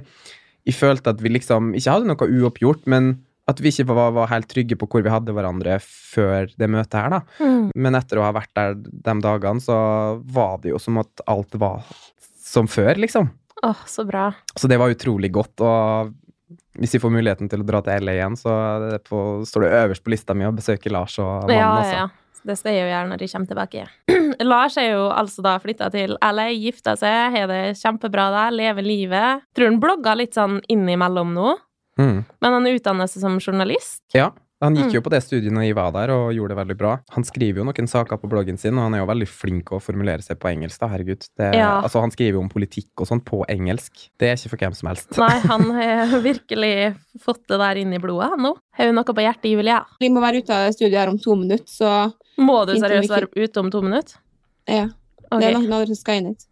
[SPEAKER 1] jeg følte at vi liksom ikke hadde noe uoppgjort, men at vi ikke var, var helt trygge på hvor vi hadde hverandre før det møtet her, da.
[SPEAKER 4] Mm.
[SPEAKER 1] Men etter å ha vært der de dagene, så var det jo som at alt var som før, liksom.
[SPEAKER 2] Åh, så bra.
[SPEAKER 1] Så det var utrolig godt, og hvis vi får muligheten til å dra til LA igjen, så er det på, står det øverst på lista mi å besøke Lars og mannen,
[SPEAKER 2] Ja,
[SPEAKER 1] altså.
[SPEAKER 2] ja, ja. Det sier jeg jo gjerne når de kommer tilbake. Lars er jo altså da flytta til LA, gifta seg, har det kjempebra der, lever livet. Tror han blogger litt sånn innimellom nå,
[SPEAKER 1] Mm.
[SPEAKER 2] men han utdanner seg som journalist.
[SPEAKER 1] Ja, han gikk
[SPEAKER 2] Mm.
[SPEAKER 1] jo på det studiet når jeg var der, og gjorde det veldig bra. Han skriver jo noen saker på bloggen sin, og han er jo veldig flink å formulere seg på engelsk, da, herregud. Det,
[SPEAKER 2] Ja.
[SPEAKER 1] Altså, han skriver jo om politikk og sånn på engelsk. Det er ikke for hvem som helst.
[SPEAKER 2] Nei, han har virkelig fått det der inn i blodet han nå. Har hun noe på hjertet, Julia?
[SPEAKER 4] Vi må være ute av studiet her om to minutter, så
[SPEAKER 2] Må du
[SPEAKER 4] Fint om vi
[SPEAKER 2] seriøst være ute om to minutter?
[SPEAKER 4] ja.
[SPEAKER 2] Ok.
[SPEAKER 4] Det er noen andre som skal inn hit.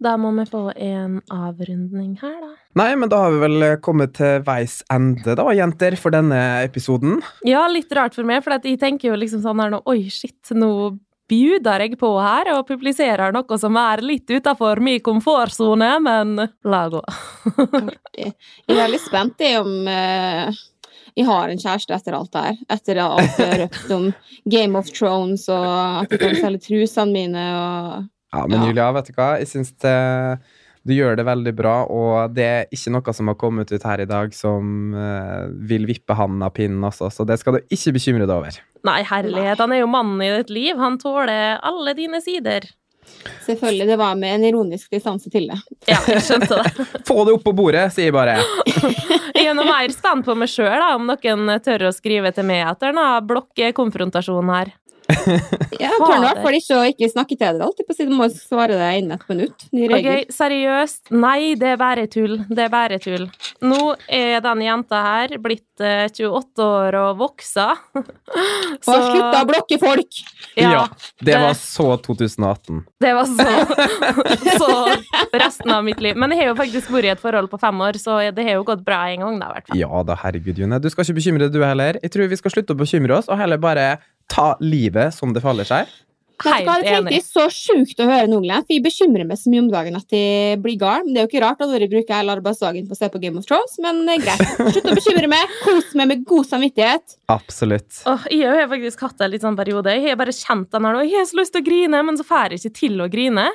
[SPEAKER 2] Da må vi få en avrundning her, da.
[SPEAKER 1] Nei, men da har vi vel eh, kommet til veis ende, da, jenter, for denne episoden.
[SPEAKER 2] Ja, litt rart for meg, for at jeg tenker jo liksom sånn her nå Oi, shit, nå bjuder jeg på her og publiserer noe som er litt utafor min komfortsone, men la gå.
[SPEAKER 4] Jeg er veldig spent i om eh, jeg har en kjæreste etter alt det her. Etter alt jeg har røpt om Game of Thrones og at jeg kan selge trusene mine og
[SPEAKER 1] Ja, men
[SPEAKER 4] Ja.
[SPEAKER 1] Julia, vet du hva? Jeg syns eh, du gjør det veldig bra, og det er ikke noe som har kommet ut her i dag som eh, vil vippe handen av pinnen også, så det skal du ikke bekymre deg over.
[SPEAKER 2] Nei, herlighet, han er jo mannen i ditt liv. Han tåler alle dine sider.
[SPEAKER 4] Selvfølgelig, det var med en ironisk distanse til det.
[SPEAKER 2] Ja, jeg skjønte det.
[SPEAKER 1] Få det opp på bordet, sier jeg bare.
[SPEAKER 2] Jeg er nå mer spent på meg sjøl, da, om noen tør å skrive til meg etter denne blokkekonfrontasjonen her.
[SPEAKER 4] Ja, jeg tør i
[SPEAKER 2] Fader.
[SPEAKER 4] hvert fall ikke å ikke snakke til dere alltid på siden. Må svare deg innen et minutt. Ny regel.
[SPEAKER 2] Ok, seriøst. Nei, det er bare tull. Det er bare tull. Nå er den jenta her blitt eh, 28 år og voksa.
[SPEAKER 4] Og slutt å blokke folk!
[SPEAKER 2] Ja.
[SPEAKER 1] Det var så 2018.
[SPEAKER 2] Det var så, så resten av mitt liv. Men jeg har jo faktisk vært i et forhold på fem år, så det har jo gått bra en gang, da, i hvert fall.
[SPEAKER 1] Ja da, herregud, June. Du skal ikke bekymre deg, du heller. Jeg tror vi skal slutte å bekymre oss, og heller bare ta livet som det faller seg.
[SPEAKER 4] Men vet du hva,
[SPEAKER 2] Helt
[SPEAKER 4] det tenkte
[SPEAKER 2] enig.
[SPEAKER 4] jeg så sjukt å høre nå, Glenn. For jeg bekymrer meg så mye om dagen at jeg blir gal. Men det er jo ikke rart, da dere bruker hele arbeidsdagen på å se på Game of Thrones. Men eh, greit. Slutt å bekymre meg. Kos meg med god samvittighet.
[SPEAKER 1] Absolutt.
[SPEAKER 2] Åh, jeg har jo faktisk hatt en litt sånn periode. Jeg har bare kjent den her nå. Jeg har så lyst til å grine, men så får jeg ikke til å grine.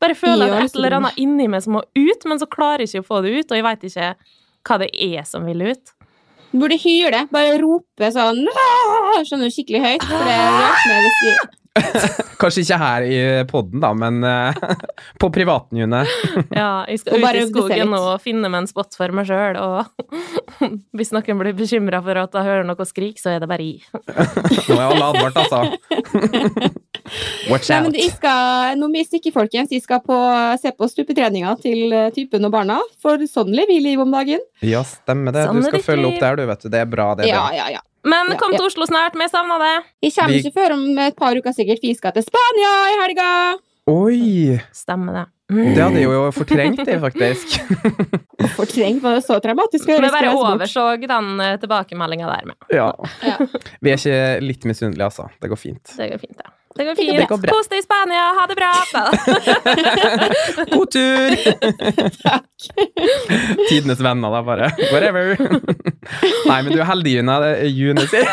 [SPEAKER 2] Bare føler
[SPEAKER 4] Jeg
[SPEAKER 2] at det
[SPEAKER 4] har
[SPEAKER 2] er et
[SPEAKER 4] lyst til å
[SPEAKER 2] eller annet inni meg som må ut, men så klarer jeg ikke å få det ut, og jeg veit ikke hva det er som vil ut.
[SPEAKER 4] Du burde hyle. Bare rope sånn «Aah!» Skjønner du, skikkelig høyt. For det hjelper meg hvis
[SPEAKER 1] Ah!
[SPEAKER 4] jeg
[SPEAKER 1] Kanskje ikke her i podden, da, men eh, på privaten, June.
[SPEAKER 2] Ja, jeg
[SPEAKER 4] Og
[SPEAKER 2] skal ut
[SPEAKER 4] bare
[SPEAKER 2] i skogen
[SPEAKER 4] obdusere litt.
[SPEAKER 2] og finne meg en spot for meg sjøl, og hvis noen blir bekymra for at jeg hører noe skrik, så er det bare i.
[SPEAKER 1] Nå er alle advart, altså. Watch
[SPEAKER 4] Nei,
[SPEAKER 1] out.
[SPEAKER 4] men jeg skal, nå må jeg stikke, folkens. Jeg skal på, se på stupetreninga til eh, typen og barna. For sånn lever vi livet om dagen.
[SPEAKER 1] Ja, stemmer det. Du
[SPEAKER 2] Sånn er
[SPEAKER 1] skal
[SPEAKER 2] det
[SPEAKER 1] følge
[SPEAKER 2] ikke.
[SPEAKER 1] opp der, du, vet du. Det er bra, det. er
[SPEAKER 4] Ja,
[SPEAKER 1] bra.
[SPEAKER 4] ja, ja.
[SPEAKER 2] Men
[SPEAKER 4] Ja,
[SPEAKER 2] kom
[SPEAKER 4] ja.
[SPEAKER 2] til Oslo snart, vi savna det.
[SPEAKER 4] Jeg kommer
[SPEAKER 1] Vi-
[SPEAKER 4] ikke før om et par uker sikkert, for jeg skal til Spania i helga.
[SPEAKER 1] Oi!
[SPEAKER 2] Stemmer det.
[SPEAKER 4] Mm.
[SPEAKER 2] Mm.
[SPEAKER 1] Det hadde jeg jo fortrengt, det, faktisk.
[SPEAKER 4] Fortrengt, var det så traumatisk? å
[SPEAKER 2] Vi
[SPEAKER 4] høre
[SPEAKER 2] bare
[SPEAKER 4] Spania bort.
[SPEAKER 2] overså den tilbakemeldinga der med.
[SPEAKER 1] Ja.
[SPEAKER 4] Ja.
[SPEAKER 1] Vi er ikke litt misunnelige, altså. Det går fint.
[SPEAKER 2] Det går fint, da. Det går
[SPEAKER 1] Det går
[SPEAKER 2] fint.
[SPEAKER 1] bra.
[SPEAKER 2] Kos deg i Spania, ha det bra! Da.
[SPEAKER 1] God tur! Tidenes venner, da, bare. Whatever. Nei, men du er heldig, June. Det er June sier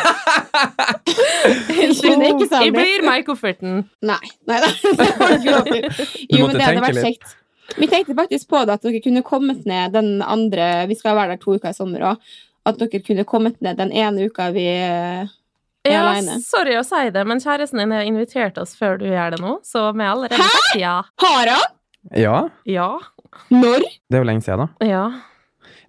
[SPEAKER 4] Ikke det, ikke
[SPEAKER 2] Jeg
[SPEAKER 4] Sandra.
[SPEAKER 2] blir meg i kofferten.
[SPEAKER 4] Nei, nei, nei. det var ikke lov til.
[SPEAKER 1] Du
[SPEAKER 4] Jo,
[SPEAKER 1] måtte
[SPEAKER 4] men det hadde
[SPEAKER 1] tenke
[SPEAKER 4] vært
[SPEAKER 1] litt.
[SPEAKER 4] kjekt. Vi tenkte faktisk på det at dere kunne kommet ned den andre Vi skal være der to uker i sommer òg. At dere kunne kommet ned den ene uka vi Jeg er
[SPEAKER 2] Ja,
[SPEAKER 4] alene.
[SPEAKER 2] sorry å si det, men kjæresten din har invitert oss før du gjør det nå, så vi har allerede sagt ja.
[SPEAKER 4] Har han?
[SPEAKER 1] Ja,
[SPEAKER 2] Ja.
[SPEAKER 4] Når?
[SPEAKER 1] det er jo lenge siden, da.
[SPEAKER 2] Ja.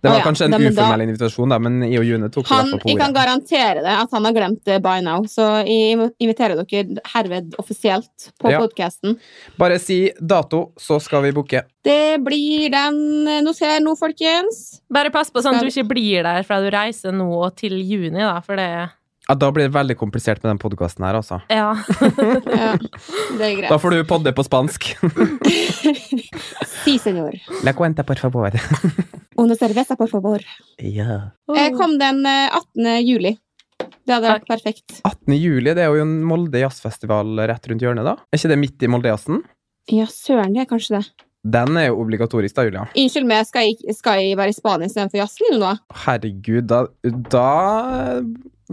[SPEAKER 1] Det
[SPEAKER 4] Å,
[SPEAKER 1] var
[SPEAKER 4] ja.
[SPEAKER 1] kanskje en
[SPEAKER 4] Nei, men da-
[SPEAKER 1] uformell invitasjon, da, men jeg og June tok det i
[SPEAKER 4] Han,
[SPEAKER 1] hvert fall
[SPEAKER 4] jeg
[SPEAKER 1] på
[SPEAKER 4] kan
[SPEAKER 1] ordet.
[SPEAKER 4] garantere det at han har glemt det by now. Så jeg inviterer dere herved offisielt på
[SPEAKER 1] Ja.
[SPEAKER 4] podcasten. podkasten.
[SPEAKER 1] Bare si dato, så skal vi booke.
[SPEAKER 4] Det blir den eh, Nå ser jeg nå, folkens.
[SPEAKER 2] Bare pass på sånn at du
[SPEAKER 4] Skal-
[SPEAKER 2] ikke blir der fra du reiser nå og til juni, da, for det
[SPEAKER 1] Ja, da blir det veldig komplisert med den podkasten her, altså.
[SPEAKER 2] Ja.
[SPEAKER 4] Ja, det er greit.
[SPEAKER 1] Da får du podde på spansk.
[SPEAKER 4] Si, senor.
[SPEAKER 1] La cuenta, por favor.
[SPEAKER 4] Una cerveza, por favor.
[SPEAKER 1] Ja.
[SPEAKER 4] Jeg kom den eh, 18. juli. Det hadde vært perfekt.
[SPEAKER 1] 18. juli, det er jo en Molde jazzfestival rett rundt hjørnet, da. Er ikke det midt i Moldejazzen?
[SPEAKER 4] Ja, søren, det er kanskje det.
[SPEAKER 1] Den er jo obligatorisk, da, Julia.
[SPEAKER 4] Unnskyld meg, skal jeg, skal jeg være i Spania istedenfor jazzen nå?
[SPEAKER 1] Herregud, da, da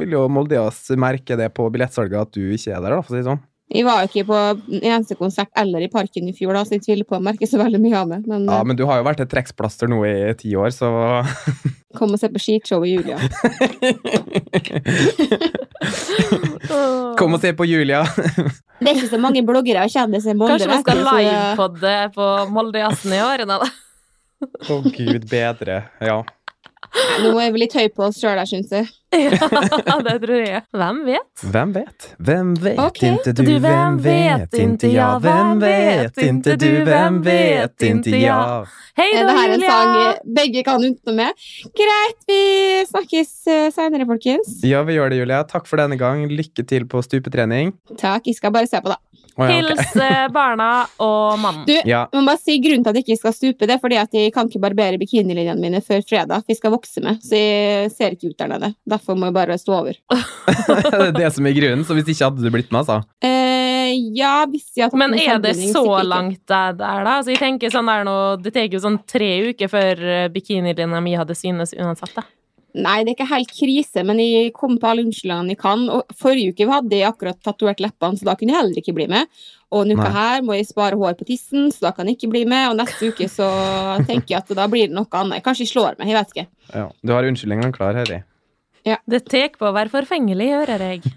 [SPEAKER 1] vil jo Moldejazz merke det på billettsalget at du ikke er der, da, for å si det sånn.
[SPEAKER 4] Jeg var jo ikke på en eneste konsert eller i parken i fjor, da, så jeg tviler på å merke så veldig mye av meg. Men
[SPEAKER 1] Ja,
[SPEAKER 4] eh,
[SPEAKER 1] men du har jo vært et trekksplaster nå i ti år, så
[SPEAKER 4] eh, kom og se på skishow i juli. ja.
[SPEAKER 1] Kom og se på Julia.
[SPEAKER 4] Det er ikke så mange bloggere og kjendiser i Molde.
[SPEAKER 2] Kanskje vi
[SPEAKER 4] vet
[SPEAKER 2] skal
[SPEAKER 4] du, så, eh,
[SPEAKER 2] livepodde på Moldejazzen i år? Da.
[SPEAKER 1] Å, gud bedre. Ja.
[SPEAKER 4] Nå er vi litt høy på oss sjøl, syns jeg.
[SPEAKER 2] Ja, det tror jeg. Hvem vet?
[SPEAKER 1] Hvem vet? Hvem vet
[SPEAKER 4] Ok.
[SPEAKER 1] ikke du, hvem vet ikke ja? Hvem vet ikke du, hvem vet ikke ja?
[SPEAKER 2] Hei
[SPEAKER 4] Er
[SPEAKER 2] da,
[SPEAKER 4] det her en
[SPEAKER 2] Julia!
[SPEAKER 4] sang eh, begge kan utenom meg? Greit, vi snakkes eh, senere, folkens.
[SPEAKER 1] Ja, vi gjør det, Julia. Takk for denne gang. Lykke til på stupetrening.
[SPEAKER 4] Takk, jeg skal bare se på, da.
[SPEAKER 1] Å, ja, ok.
[SPEAKER 2] Hils eh, barna og mannen.
[SPEAKER 4] Du,
[SPEAKER 1] Ja,
[SPEAKER 4] Jeg må bare si Grunnen til at jeg ikke skal stupe, det er fordi at jeg kan ikke barbere bikinilinjene mine før fredag. Vi skal vokse med, så jeg ser ikke ut der nede. Derfor må jeg bare stå over.
[SPEAKER 1] det er det som er grunnen. Så hvis ikke hadde du blitt med, altså.
[SPEAKER 4] Eh, ja, hvis jeg har tatt
[SPEAKER 2] Men
[SPEAKER 4] med
[SPEAKER 2] er det
[SPEAKER 4] sandbinding,
[SPEAKER 2] så
[SPEAKER 4] sikkert ikke.
[SPEAKER 2] langt der, der da? Altså, jeg tenker sånn der nå, Det tar jo sånn tre uker før eh, bikinilinja mi hadde synes uansett. da.
[SPEAKER 4] Nei, det er ikke helt krise, men jeg kom på alle unnskyldningene jeg kan. Og forrige uke hadde jeg akkurat tatovert leppene, så da kunne jeg heller ikke bli med. Og denne uka
[SPEAKER 1] Nei.
[SPEAKER 4] her må jeg spare hår på tissen, så da kan jeg ikke bli med. Og neste uke så tenker jeg at da blir det noe annet. Kanskje jeg slår meg, jeg vet ikke.
[SPEAKER 1] Ja. Du har unnskyldningene klar, Høyre.
[SPEAKER 2] Det tar på å være forfengelig, hører jeg.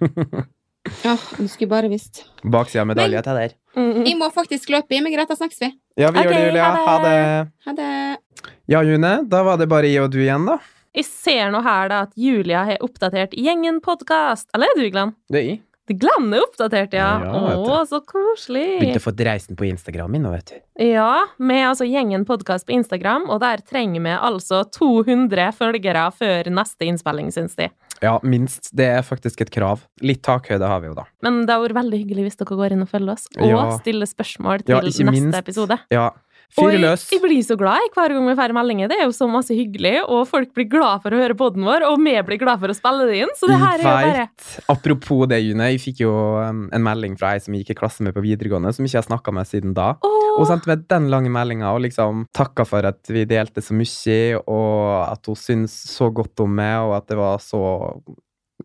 [SPEAKER 4] Åh, du skulle bare visst.
[SPEAKER 1] Baksida av medalje til der.
[SPEAKER 2] Mm.
[SPEAKER 4] Jeg må faktisk løpe i, men greit, da snakkes vi.
[SPEAKER 1] Ja, vi
[SPEAKER 2] Ok,
[SPEAKER 1] gjør det, Julia.
[SPEAKER 2] ha
[SPEAKER 1] Ha
[SPEAKER 2] det.
[SPEAKER 1] det.
[SPEAKER 4] Ha det.
[SPEAKER 1] Ja, June, da var det bare jeg og du igjen, da.
[SPEAKER 2] Jeg ser nå her da at Julia har oppdatert Gjengen podkast. Eller er du, Glenn?
[SPEAKER 1] Det er jeg.
[SPEAKER 2] Glenn er oppdatert, ja.
[SPEAKER 1] Ja, vet du.
[SPEAKER 2] Å, så koselig.
[SPEAKER 1] å få dreisen på Instagram min nå, vet du.
[SPEAKER 2] Ja, med altså Gjengen podkast på Instagram, og der trenger vi altså 200 følgere før neste innspilling, syns de.
[SPEAKER 1] Ja, minst. Det er faktisk et krav. Litt takhøyde har vi jo, da.
[SPEAKER 2] Men det har vært veldig hyggelig hvis dere går inn og følger oss, og
[SPEAKER 1] Ja.
[SPEAKER 2] stiller spørsmål til
[SPEAKER 1] Ja, ikke
[SPEAKER 2] neste
[SPEAKER 1] minst.
[SPEAKER 2] episode.
[SPEAKER 1] Ja. Fyr
[SPEAKER 2] Og
[SPEAKER 1] løs.
[SPEAKER 2] Jeg, jeg blir så glad jeg, hver gang vi får meldinger. Det er jo så masse hyggelig, og folk blir glad for å høre podden vår, og vi blir glad for å spille det inn. Så det her er jo bare
[SPEAKER 1] Apropos det, June. Jeg fikk jo um, en melding fra ei som jeg gikk i klasse med på videregående, som ikke jeg har snakka med siden da.
[SPEAKER 2] Åh,
[SPEAKER 1] Hun sendte meg den lange meldinga og liksom takka for at vi delte så mye, og at hun syntes så godt om meg, og at det var så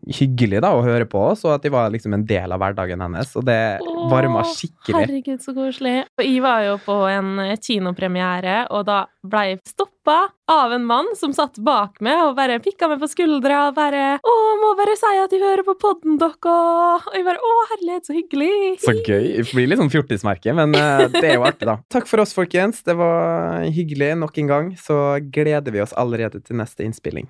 [SPEAKER 1] hyggelig da å høre på oss, og at jeg var liksom en del av hverdagen hennes. Og det
[SPEAKER 2] Åh,
[SPEAKER 1] varma skikkelig.
[SPEAKER 2] Herregud, så koselig. Og Jeg var jo på en eh, kinopremiere, og da ble jeg stoppa av en mann som satt bak meg og bare pikka meg på skuldra og bare 'Å, må bare si at jeg hører på podden deres'. Og jeg bare 'Å, herlighet, så hyggelig'.
[SPEAKER 1] Så gøy. Det blir litt sånn fjortismerke, men eh, det er jo artig, da. Takk for oss, folkens. Det var hyggelig nok en gang. Så gleder vi oss allerede til neste innspilling.